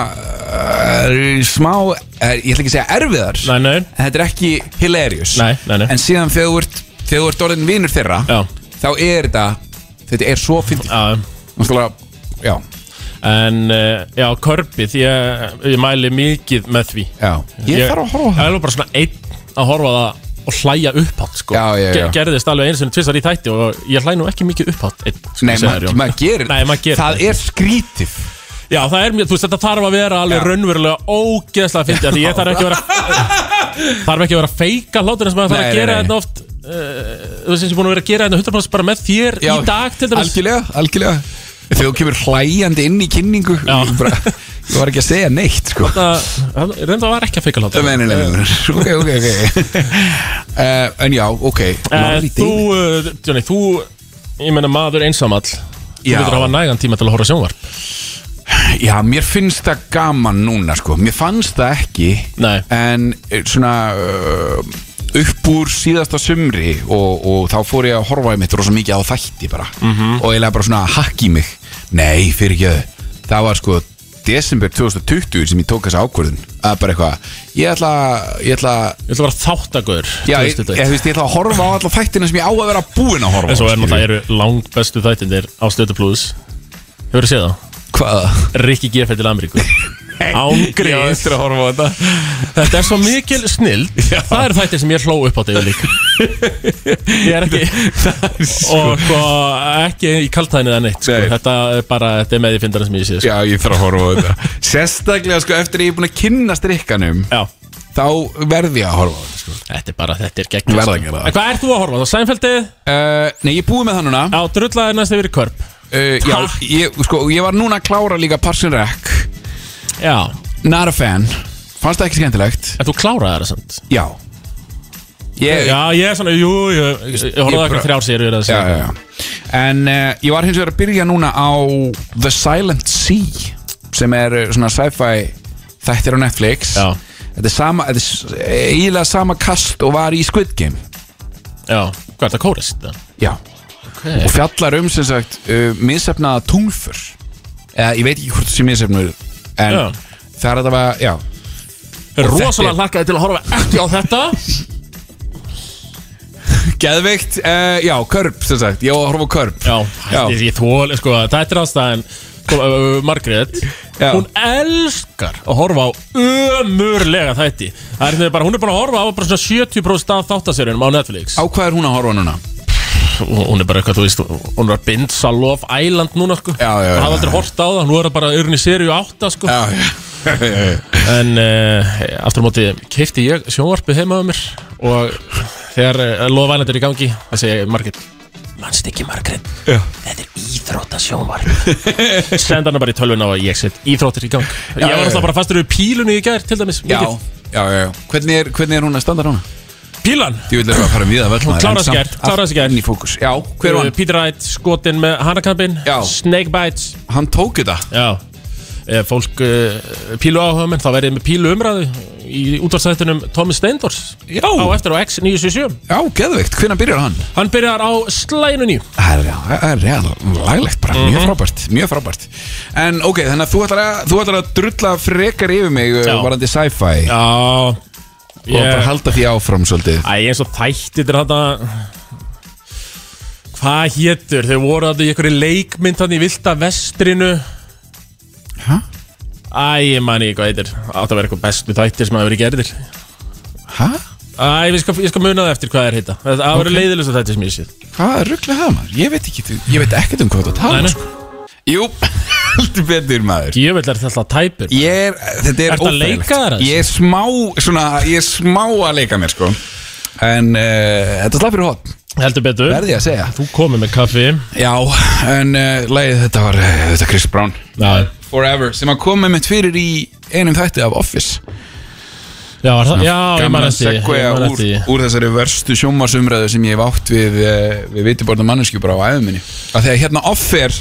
S2: uh, smá, uh, ég ætla ekki að segja erfiðar
S3: Nei, nei,
S2: en þetta er ekki hilarious
S3: Nei, nei, nei.
S2: en síðan þegar þú ert, þegar þú ert orðin vinur þeirra
S3: Já.
S2: þá er þetta, þetta er svo fyndið
S3: já
S2: Náttúrulega, já,
S3: En eh, já, körbið, ég, ég mæli mikið með því
S2: Já, ég, þarf að horfa á
S3: það
S2: það
S3: Ég er bara svona einn að horfa á það og hlæja upphátt sko.
S2: Já, já, já.
S3: Ge- Gerðist alveg einu sinni tvisar í þætti og ég hlæ nú ekki mikið upphátt einn, sko,
S2: Nei,
S3: segir
S2: maður
S3: Jón.
S2: maður gerir
S3: Nei, maður gerir
S2: Það
S3: það.
S2: er skrítið
S3: Já, það er mjög, þú veist, þetta þarf að vera alveg
S2: Já.
S3: raunverulega ógeðslega fyndið af Því ég þarf ekki að vera Þarf ekki að vera að feika hlátur eins og maður þarf
S2: Nei,
S3: að
S2: nei,
S3: gera
S2: nei.
S3: þetta oft uh, Þú veist, ég er búin að vera að gera þetta 100% bara með þér
S2: Já,
S3: í dag til dæmis
S2: Algjörlega, algjörlega Þegar þú kemur hlæjandi inn í kynningu
S3: Já.
S2: Ég bara- ég var ekki að segja neitt sko
S3: Hérna, Það reynda var ekki að feika hlátur
S2: Nei, nei, nei, nei, nei. Ok, ok, ok uh, En já, ok
S3: Eh,
S2: Larry
S3: Þú,
S2: David.
S3: eh, Johnny, þú, ég meina maður einsamall Þú
S2: Já.
S3: getur að hafa nægan tíma til að horfa á sjónvarp
S2: Já, mér finnst það gaman núna sko Mér fannst það ekki
S3: Nei.
S2: En eh, svona uh, upp úr síðasta sumri og, og þá fór ég að horfa í mitt rosa mikið á þætti bara
S3: Mhm.
S2: -hmm. og eiginlega bara svona að hakka í mig Nei, fyrir ekki þau Það var sko desember 2020 sem ég tók þessa ákvörðun að bara eitthvað ég ætla, ég ætla
S3: Ég ætla að vera þáttagur
S2: Já, ég, ég, ég, ég ætla að horfa á alla þættina sem ég á að vera búinn að horfa á,
S3: En svo er
S2: skilurðu.
S3: náttúrulega eru langt bestu þættindir á Stötu Plus Hefur séð það?
S2: Hvaða?
S3: Rikki G.F. til Ameríku Ángríð
S2: eftir að horfa á þetta
S3: Þetta er svo mikil snill Það eru þættir sem ég hló upp á þetta líka Ég er ekki Og sko, ekki í kaltæðinni það neitt sko.
S2: Nei.
S3: Þetta er bara, þetta er með því fyndara sem ég sé sko.
S2: Já, ég þarf að horfa á þetta Sérstaklega sko eftir að ég er búin að kynna strikkanum
S3: Já,
S2: Þá verð ég að horfa á þetta sko.
S3: Þetta er bara, þetta er gegn
S2: Verða að gera það.
S3: En hvað ert þú að horfa? á? Það Sænfeldið
S2: uh, Nei, ég er búið með það núna
S3: á drullaði næst yfir í körp
S2: uh, Já, ég, sko, ég var núna að klára líka Parson Rec
S3: Já,
S2: Not a fan Fannst það ekki skemmtilegt
S3: en þú kláraði það samt
S2: Já Ég,
S3: Já, ég er svona, jú, ég, ég, ég horfði
S2: Ég
S3: það
S2: bara-
S3: ekki þrjár sér Já,
S2: já, já, já. En uh, ég var hins vegar að byrja núna á The Silent Sea sem er eh, svona sci-fi þættir á Netflix
S3: Já.
S2: Þetta er, sama, þetta er s- eiginlega sama kast og var í Squid Game
S3: já Hvað er það kórist?
S2: Já
S3: Okay.
S2: og fjallar um sem sagt uh, misefnaða tungfur eða ég veit ekki hvort það sé misefnur en
S3: Já.
S2: það er að það var, já og
S3: Rosalega
S2: þetta
S3: hlakkaði til að horfa ekki á þetta
S2: Geðveikt, uh, já, körp sem sagt, ég á að horfa á körp
S3: Já, ég, ég þóli, sko, þetta er ástæðan sko, uh, uh, Margrét
S2: Já.
S3: Hún elskar að horfa á ömurlega þætti Það er bara, hún er bara að horfa á bara svona 70% af þáttaserjunum á Netflix
S2: Á hvað er hún að horfa núna?
S3: hún hún er bara eitthvað, þú veist, hún var Binds a Love Island núna, sko
S2: Já, já, já,
S3: Það hafði aldrei
S2: já.
S3: hort á það, nú er það bara urinn í serju 8, sko
S2: Já, já, já, já, já.
S3: En uh, aftur á móti, keipti ég sjónvarpið heima á mér Og þegar uh, Love Island er í gangi, það segi ég, Margrét Manst ekki, Margrét,
S2: Já.
S3: þetta er íþróta sjónvarp Senda hana bara í tölvun á að ég set íþróttir í gang Ég
S2: já,
S3: var
S2: já.
S3: alltaf bara fastur í pílunni í gær, til dæmis
S2: Já,
S3: mikið.
S2: já, já, já. Hvernig, er, hvernig er hún að standa núna?
S3: Pílan,
S2: Því vil erum að fara við að völlna
S3: Klárar sig gert, klárar sig gert.
S2: Inn í fókus, já, hver var hann?
S3: Eh, Peter Wright, skotin með hanakampin
S2: Já.
S3: Snake Bites
S2: Hann tók þetta
S3: Já Ef fólk uh, pílu áhuga menn þá verðið með pílu umræðu í útvarstættunum Thomas Steindors
S2: Já.
S3: á eftir á X977
S2: Já, geðveikt, hvernig byrjar hann?
S3: Hann byrjar á slæginu nýju
S2: Það er- það er reyðan laglegt bara,
S3: Mhm.
S2: mjög frábært, mjög frábært En ok, þannig að þú ætlar að, þú ætlar að drulla frekar yfir mig Já.
S3: Já.
S2: varandi sci-fi
S3: Já
S2: og bara halda því áfram svolítið
S3: Æ, eins og þættir þetta Hvað hétur? Þau voru að í einhverju leikmynd þannig í vilda vestrinu
S2: Hæ?
S3: Æ, ég man ekki hvað heitir Átt að vera eitthvað bestu þættir sem hafa verið gerðir
S2: Hæ?
S3: Æ, ég skal, ég skal muna það eftir hvað er heita Það okay. voru leiðilegsta þættir sem ég séð
S2: Hvað ruggla það maður? Ég veit ekki, ég veit ekkert um hvað þú
S3: Nei,
S2: talar
S3: nei.
S2: sko. Jú, heldur betur maður
S3: Gjöfell er þetta tæpur
S2: Ég er, þetta er
S3: Ertu að leika þér aðeins?
S2: Ég er smá, svona, ég er smá að leika mér sko En uh, þetta slapp fyrir hot,
S3: Heldur betur
S2: verði ég að segja
S3: Þú komið með kaffi
S2: Já, en uh, lagið þetta var, uh, þetta Chris Brown
S3: Já,
S2: Forever sem að koma með fyrir í einum þætti af Office
S3: já, var það, já ég man
S2: Gamla
S3: eftir því,
S2: segwaya
S3: ég man
S2: úr,
S3: eftir því.
S2: úr þessari verstu sjómasumræðu sem ég hef átt við, eh, við vitiborna mannesku bara á æðuminni að þegar hérna offer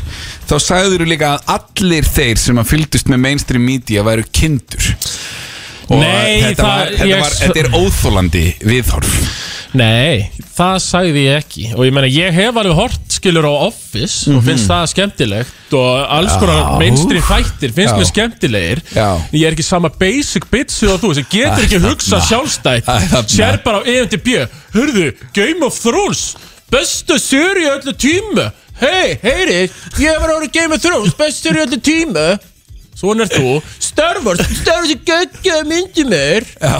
S2: þá sagður þú líka að allir þeir sem að fylgdust með mainstream media væru kindur og
S3: Nei,
S2: þetta, var,
S3: það-
S2: þetta,
S3: ég-
S2: var, þetta er óþólandi viðhorf
S3: Nei, það sagði ég ekki Og ég meina, ég hef alveg hort skilur á Office Og
S2: Mhm.
S3: finnst það skemmtilegt Og alls konar mainstream þættir finnst
S2: Já.
S3: mér skemmtilegir
S2: Já.
S3: Ég er ekki sama basic bitch og þú Sem getur ekki
S2: Æ,
S3: hugsað
S2: þarna.
S3: sjálfstætt
S2: Æ, þarna.
S3: Sér E bara á EMTB Hörðu, Game of Thrones Bestu seri öllu tíma Hei, heyri, ég var árið Game of Thrones Bestur í öllu tíma Svona er þú Star Wars, Star Wars er geggja myndi mér
S2: Já,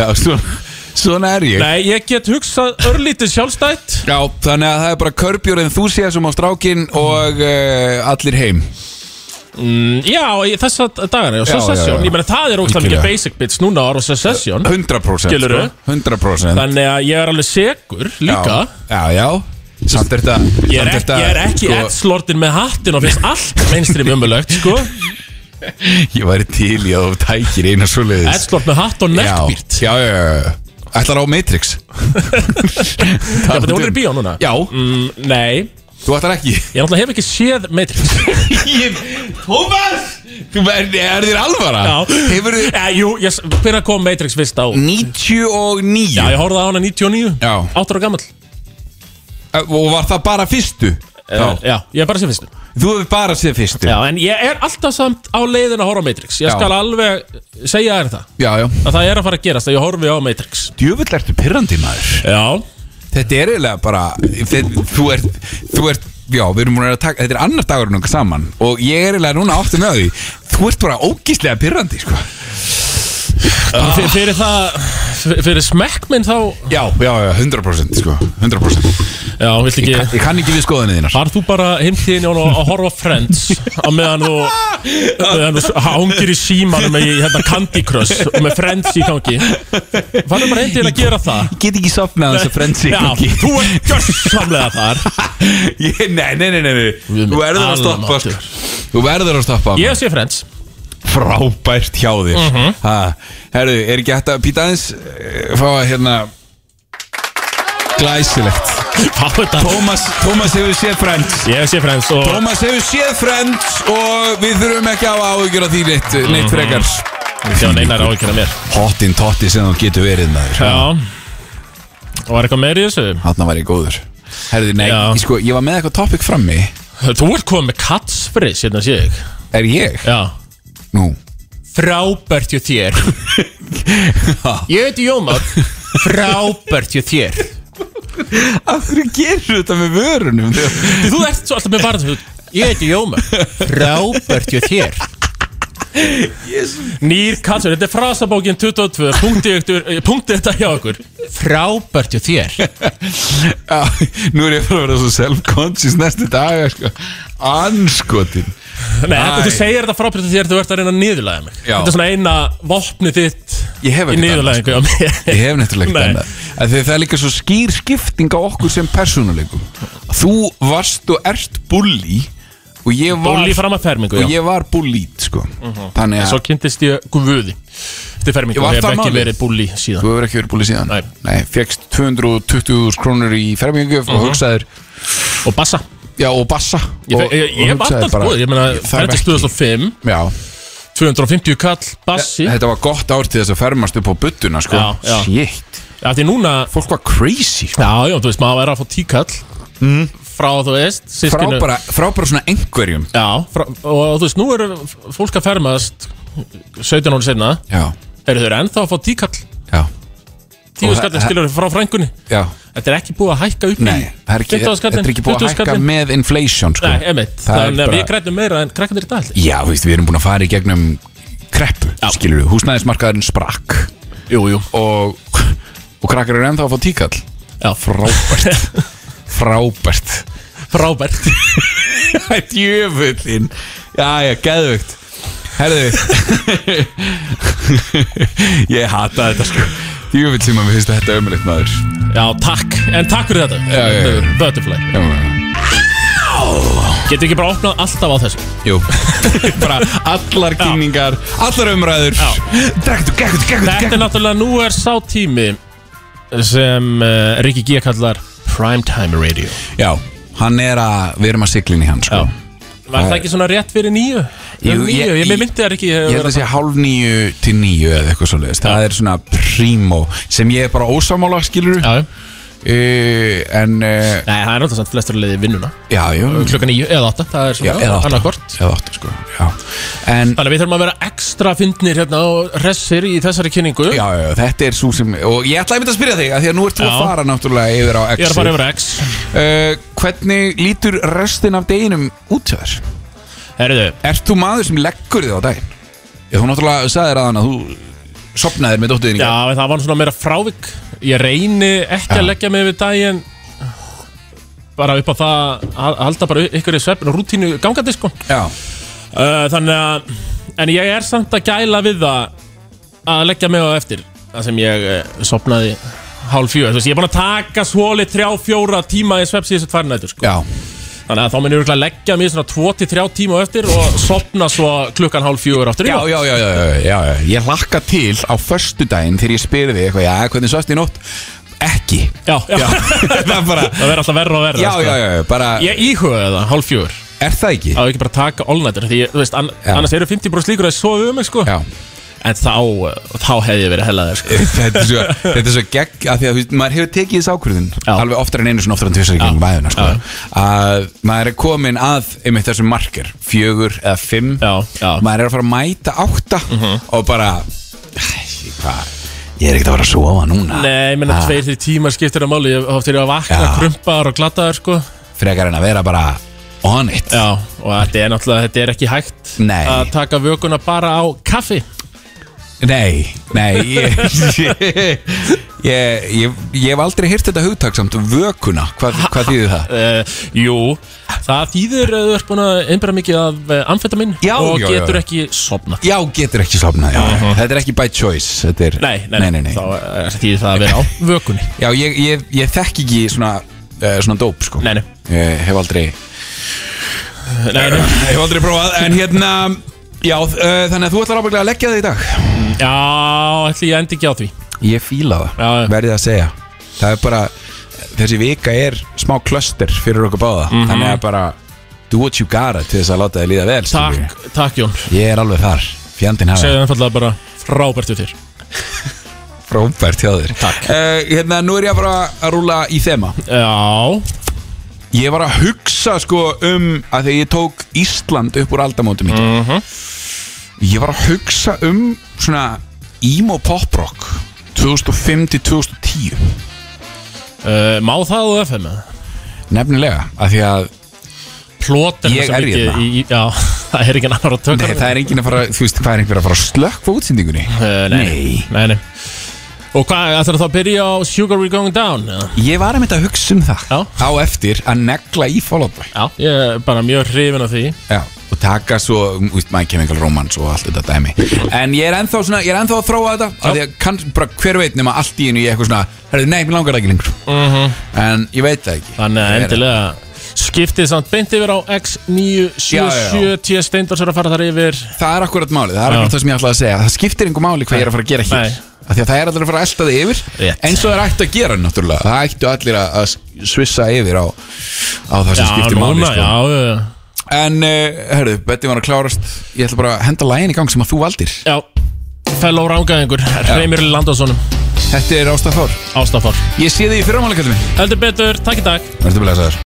S2: já svona, svona er ég
S3: Nei, ég get hugsað örlítið sjálfstætt
S2: Já, þannig að það er bara körpjur enthusiasm á strákin og uh, allir heim
S3: Mm, Já, ég- þessa dagana, já,
S2: Já, já,
S3: Secession
S2: já.
S3: Ég meina, það er ógstæðan mikið
S2: Algjörlega.
S3: basic bits Núna ára Secession
S2: 100%
S3: Skilurðu?
S2: sko. 100%
S3: Þannig að ég er alveg segur líka
S2: Já, já, já. Samt er þetta
S3: Ég er
S2: samt
S3: ekki,
S2: þetta,
S3: ég er ekki sko,
S2: sko,
S3: edslortin með hattin og finnst allt mainstream umulögt sko.
S2: Ég væri til í að þú tækir eina svo leiðis
S3: Edslort með hatt og nektbýrt
S2: já, já, já, já Ætlar á Matrix um-
S3: Það er hún er í bíó núna
S2: Já,
S3: mm, Nei,
S2: þú ætlar ekki
S3: ég náttúrulega hef ekki séð Matrix
S2: Thomas Þú verði, er þér alvara?
S3: Já.
S2: Hefur þið
S3: eh, Jú, ég, s- hvenær kom Matrix fyrst á?
S2: 99
S3: Já, ég horfði á hana
S2: Mm.
S3: 99
S2: Já.
S3: 8 ára gammal
S2: Og var það bara fyrstu?
S3: Já. Eh, Já, ég er bara sér fyrstu
S2: Þú hefur bara séð fyrstu
S3: Já, en ég er alltaf samt á leiðin að horfa á Matrix Ég
S2: Já.
S3: skal alveg segja þér það
S2: já, já.
S3: að það er að fara að gerast að ég horfi á Matrix
S2: Djöfull ertu pirrandi maður
S3: Já,
S2: Þetta er eiginlega bara þe- Þú ert, þú ert Já, við erum múin að taka Þetta er annar dagurinn okkar saman Og ég er eiginlega núna áttu með því Þú ert bara ógíslega pirrandi, sko
S3: fyrir, fyrir það fyrir smekkminn þá
S2: Já, já, já, 100% sko 100%
S3: Já, viltu
S2: Ég,
S3: ekki
S2: kann- ég kann ekki við skoðinni þínar
S3: Var þú bara heimtíðin Jón að horfa á Friends á meðan þú á meðan þú hangir í símanum með í, hérna Candy Crush og með Friends í gangi Var þú bara heimtíðin að gera það?
S2: Ég get ekki sopnað þess að frendsi
S3: Já, þú er gjörsamlega þar
S2: Ég, nei, nei, nei, nei, nei.
S3: Guð
S2: Þú
S3: minn
S2: verður að stoppa
S3: almáttugur.
S2: sko. Þú verður að stoppa
S3: Ég sé Friends
S2: Frábært hjá þér uh Herðu, er ekki hægt að pýta aðeins eh, Fá að hérna Glæsilegt
S3: Fá þetta
S2: Tómas, Tómas hefur séð Friends
S3: Ég sé Friends og
S2: Tómas hefur séð Friends Og við þurfum ekki að hafa áhyggjur af því neitt Neitt frekar
S3: Já, neinar á ekki að mér
S2: Hottin Mhm. totti sem þú getur verið maður
S3: Já Og var eitthvað meir í þessu?
S2: Þarna var ég góður Herðu, nei,
S3: Já.
S2: ég, sko, ég var með eitthvað topic frammi
S3: Þú ert komið með katsfris hérna sé ég
S2: Er ég?
S3: Já
S2: Nú
S3: Frábært hjá þér Ég heiti Jómar Frábært hjá þér
S2: Af hverju gerur þetta með vörunum?
S3: Þú ert svo alltaf með varðhund Ég heiti Jómar Frábært hjá þér Nýr katsfris, þetta er frasabókin 22 Punktið ykkur- eh, punktið þetta hjá okkur Frábært hjá þér
S2: Já, nú er ég bara að vera svo self-conscious næstu daga, sko. Anskotin.
S3: Nei,
S2: Æ.
S3: þetta- þú segir þetta frábært hjá þér Þú ert að reyna að niðurlæða mig
S2: Já.
S3: Þetta er svona eina vopnið þitt
S2: Ég hef sko.
S3: Í
S2: ekkert
S3: niðurlæðingu hjá mér
S2: Ég hef nefnilega
S3: Nei.
S2: ekki annað. Af því að Það er líka svo skýr skipting á okkur sem persónuleikum. Þú varst og ert bully og ég var,
S3: Bully fram að fermingu, já. Mhm.
S2: og ég var bullít, sko. Þannig
S3: Svo
S2: að
S3: kynntist ég Guðvöði Þetta er fermingu,
S2: Ég var
S3: ég hef
S2: það
S3: ekki
S2: málið.
S3: verið búli síðan
S2: þú hefur ekki verið bully síðan.
S3: Nei.
S2: Nei fegst 220.000 krónur í fermingjöf og hugsaðir,
S3: Og Bassa
S2: já, og bassa.
S3: Mhm. Ég,
S2: og,
S3: ég, ég,
S2: og
S3: ég var
S2: hugsaðir
S3: alltaf
S2: bara,
S3: góð, ég meina
S2: ég þarf
S3: Fermist
S2: ekki-
S3: 2005,
S2: Já,
S3: 250 kall, Bassi
S2: Þetta var gott ár til þess að fermast upp á buttuna sko.
S3: Já, já.
S2: Shit
S3: Það er núna,
S2: Fólk var crazy sko.
S3: já, já, þú veist, maður er að fá 10 kall
S2: Mm.
S3: Frá, þú veist,
S2: frá,
S3: sískinu
S2: bara, frá bara svona einhverjum
S3: Já, frá, og þú veist, nú eru fólk að fermast 17 ári senna
S2: Já,
S3: Eru þeir ennþá að fá 10 kall
S2: já,
S3: 10
S2: Og það-
S3: skallin skilur frá frængunni
S2: já.
S3: Þetta er ekki búið að hækka upp
S2: Nei, það er ekki,
S3: 20
S2: þetta
S3: skallin,
S2: er ekki búið
S3: 20
S2: að hækka
S3: skallin.
S2: með inflation sko.
S3: Nei, emitt,
S2: Það er
S3: þannig að
S2: bara-
S3: við grætum meira en krakkandir í dag held ég.
S2: Já, þú veist, við erum búin að fara í gegnum kreppu,
S3: Já.
S2: skilur við, húsnæðismarkaðurinn sprakk
S3: Jú, jú
S2: og, og krakkar eru ennþá að fá tíkall
S3: Já,
S2: Frábært Frábært
S3: frábært
S2: Djöfullin Já, já, geðvögt Herðu Ég hata þetta sko Djöfull sem að mér finnst þetta ömulegt maður
S3: Já, takk, en takk fyrir þetta
S2: Já, já, já.
S3: Butterfly
S2: Já, já.
S3: Getur ekki bara opnað alltaf á þessu
S2: Jú Bara allar kynningar Allar umræður Drektu, gekkutu, gekkutu,
S3: Þetta er náttúrulega, nú er sá tími sem uh, Rikki G kallar Primetime Radio
S2: Já, hann er að Við erum að siglin í hann sko
S3: Já. Var það ekki svona rétt fyrir nýju?
S2: Jú,
S3: Nýju, ég,
S2: ég-
S3: ég, ég myndi það ekki
S2: Ég held að sé hálf nýju til nýju eða eitthvað svo leiðist Það er svona prímó sem ég er bara ósamála skilur
S3: Já,
S2: uh, En uh,
S3: Nei, það er náttúrulega samt flestur að leiði vinnuna
S2: Já, já
S3: Klukkan 9 eða 8, það er
S2: Já,
S3: svona
S2: eða átta
S3: annarkvort
S2: Eða átta, sko Já En
S3: Þannig að við þurfum að vera ekstra fyndnir hérna og hressir í þessari kynningu
S2: Já, já, já, þetta er svo sem Og ég ætlaði mynd að spyrja þig af Því að nú ert þú að
S3: Já.
S2: fara náttúrulega yfir á X
S3: Ég er að fara yfir á X
S2: Hvernig lítur restin af deginum út hjá þér?
S3: Herriðu,
S2: Ert þú maður sem leggur þig á daginn? Ég þú náttúrulega sagðir að hann að þú sopnaðir með dóttuðin í
S3: já
S2: gær.
S3: en það var svona meira frávik Ég reyni ekki að leggja mig við daginn bara upp á það að að halda bara ykkur í svefn og rútínu gangandi sko
S2: Já, Eh,
S3: uh, Þannig að, en ég er samt að gæla við það að leggja mig á eftir Það sem ég uh, sopnaði hálf fjögur, þú veist, ég er búin að taka svoli þrjá, fjóra tíma í svepp síðan tvær nætur sko.
S2: já,
S3: Þannig að þá minn ég örugglega að leggja mig í svona 2-3 tíma á eftir og sopna svo klukkan hálf fjögur áttur
S2: já, já, já, já, já, já, já. Ég hlakka til á förstu daginn þegar ég spyrir þig eitthvað, já, hvernig svast í nótt? Ekki.
S3: já, já.
S2: það er bara,
S3: Það verður alltaf verra og verra
S2: já,
S3: sko.
S2: já, já, já, bara,
S3: Ég íhugaði það hálf fjögur
S2: er það ekki?
S3: Það var ekki bara að taka all-nighter Því, ég- þú veist, an
S2: Já.
S3: annars eru 50% líkur að sofa um mig, sko
S2: Já.
S3: En þá, uh, þá hefði ég verið hellaðir, sko
S2: Þetta er svo, þetta er svo gegg að því að þú veist, maður hefur tekið þessu ákvörðun
S3: Já.
S2: alveg oftar en einu svona oftar en tvisar í gegnum væðuna sko,
S3: Já.
S2: að maður er komin að einmitt þessum marker, fjögur eða fimm
S3: Já, já. Mhm.
S2: maður er að fara að mæta átta og bara æ, hvað, ég er ekkert að fara að sofa núna
S3: Nei, ég menna
S2: Ha,
S3: tveir því tímar skiptir að máli Ég hóftir ég að vakna,
S2: Ah. Já.
S3: krumpaðar og glataðar, sko
S2: frekar en að vera bara on it
S3: Já, og þetta er náttúrulega, þetta er ekki hægt
S2: Nei.
S3: Að taka vökunna bara á kaffi
S2: Nei, nei ég, ég, ég, ég, ég hef aldrei hýrt þetta hugtaksamt vökuna, hvað, hvað þýðir það?
S3: uh, Jú, það þýðir að þú ert búin að einbæra mikið af uh, amfetamin
S2: Já,
S3: Og
S2: já, já,
S3: getur
S2: já.
S3: ekki sopna
S2: Já, getur ekki sofnað, já, þetta er ekki by choice Þetta er,
S3: Nei, nei, nei, þá uh, þýðir það að vera á vökunni
S2: Já, ég, ég, ég þekk ekki svona, uh, svona dóp, sko
S3: Nei, nei,
S2: Ég hef aldrei
S3: nei, nei.
S2: Hef aldrei prófað, en hérna Já, uh, þannig að þú ætlar ábygglega að leggja það í dag
S3: Já, ætli ég endi ekki á því
S2: Ég fíla það,
S3: Já, já.
S2: verðið að segja Það er bara, þessi vika er smá klöster fyrir okkur báða
S3: Mhm.
S2: Þannig að bara, do what you gotta til þess að láta þið líða vel skilur
S3: Takk, takk Jón
S2: við. Ég er alveg þar, fjandinn hafa
S3: Segðu ennfallega bara frábært við þér
S2: Frábært hjá þér
S3: Takk.
S2: uh, Hérna, nú er ég bara að rúla í þema
S3: Já,
S2: Ég var að hugsa sko um að þegar ég tók Ísland upp úr aldamóti mín
S3: Mhm.
S2: Ég var að hugsa um svona emo poprock 2005 til 2010
S3: uh, má það á FM eða?
S2: Nefnilega, af því að
S3: Plot er
S2: Ég
S3: svo
S2: er
S3: mikið
S2: hérna.
S3: í, í- Já, það er ekki annar að tökka
S2: nei, það er enginn að fara, þú veist, hvað er einhver að fara að slökk á útsendingunni?
S3: Uh, nei, nei. nei, nei Og hvað, ætlar það að byrja á Sugar We're Going Down? eða?
S2: Ég var að mynda að hugsa um það
S3: Já.
S2: á eftir að negla í Fall Out Boy
S3: Já, ég er bara mjög hrifin af því
S2: Já, og taka svo, um, úst, My Chemical Romance og allt þetta dæmi En ég er ennþá, svona, ég er ennþá að þróa þetta af Því að kann, bara, hver veit nema allt í hennu ég eitthvað svona Herðu, nei, mér langar það ekki lengur En ég veit það ekki
S3: Mhm. Þannig
S2: Ég
S3: að
S2: er-
S3: endilega skiptið samt beint yfir á X977 T. Steindors er að fara þar yfir
S2: Það er akkurat málið, það er
S3: Já.
S2: akkurat það sem ég ætlaði að segja Það skiptir einhver máli hvað ég er að fara að gera hér
S3: Nei.
S2: af Því að það er allir að fara að elta þig yfir
S3: Rétt.
S2: Eins og það er ætti að gera náttúrulega Það ættu allir að, að svissa yfir á, á það sem skiptir máli sko.
S3: já, já, já
S2: En, uh, herðu, Betty var að klárast Ég ætla bara að henda lægin í gang sem að þú valdir
S3: Já, fellow rángaðingur Reymir Landonssonum,
S2: Þetta er Ástafár
S3: ástafár
S2: Ég sé þig í fyrramála, kallum minn
S3: Heldur betur, takk í dag
S2: Verður blessaður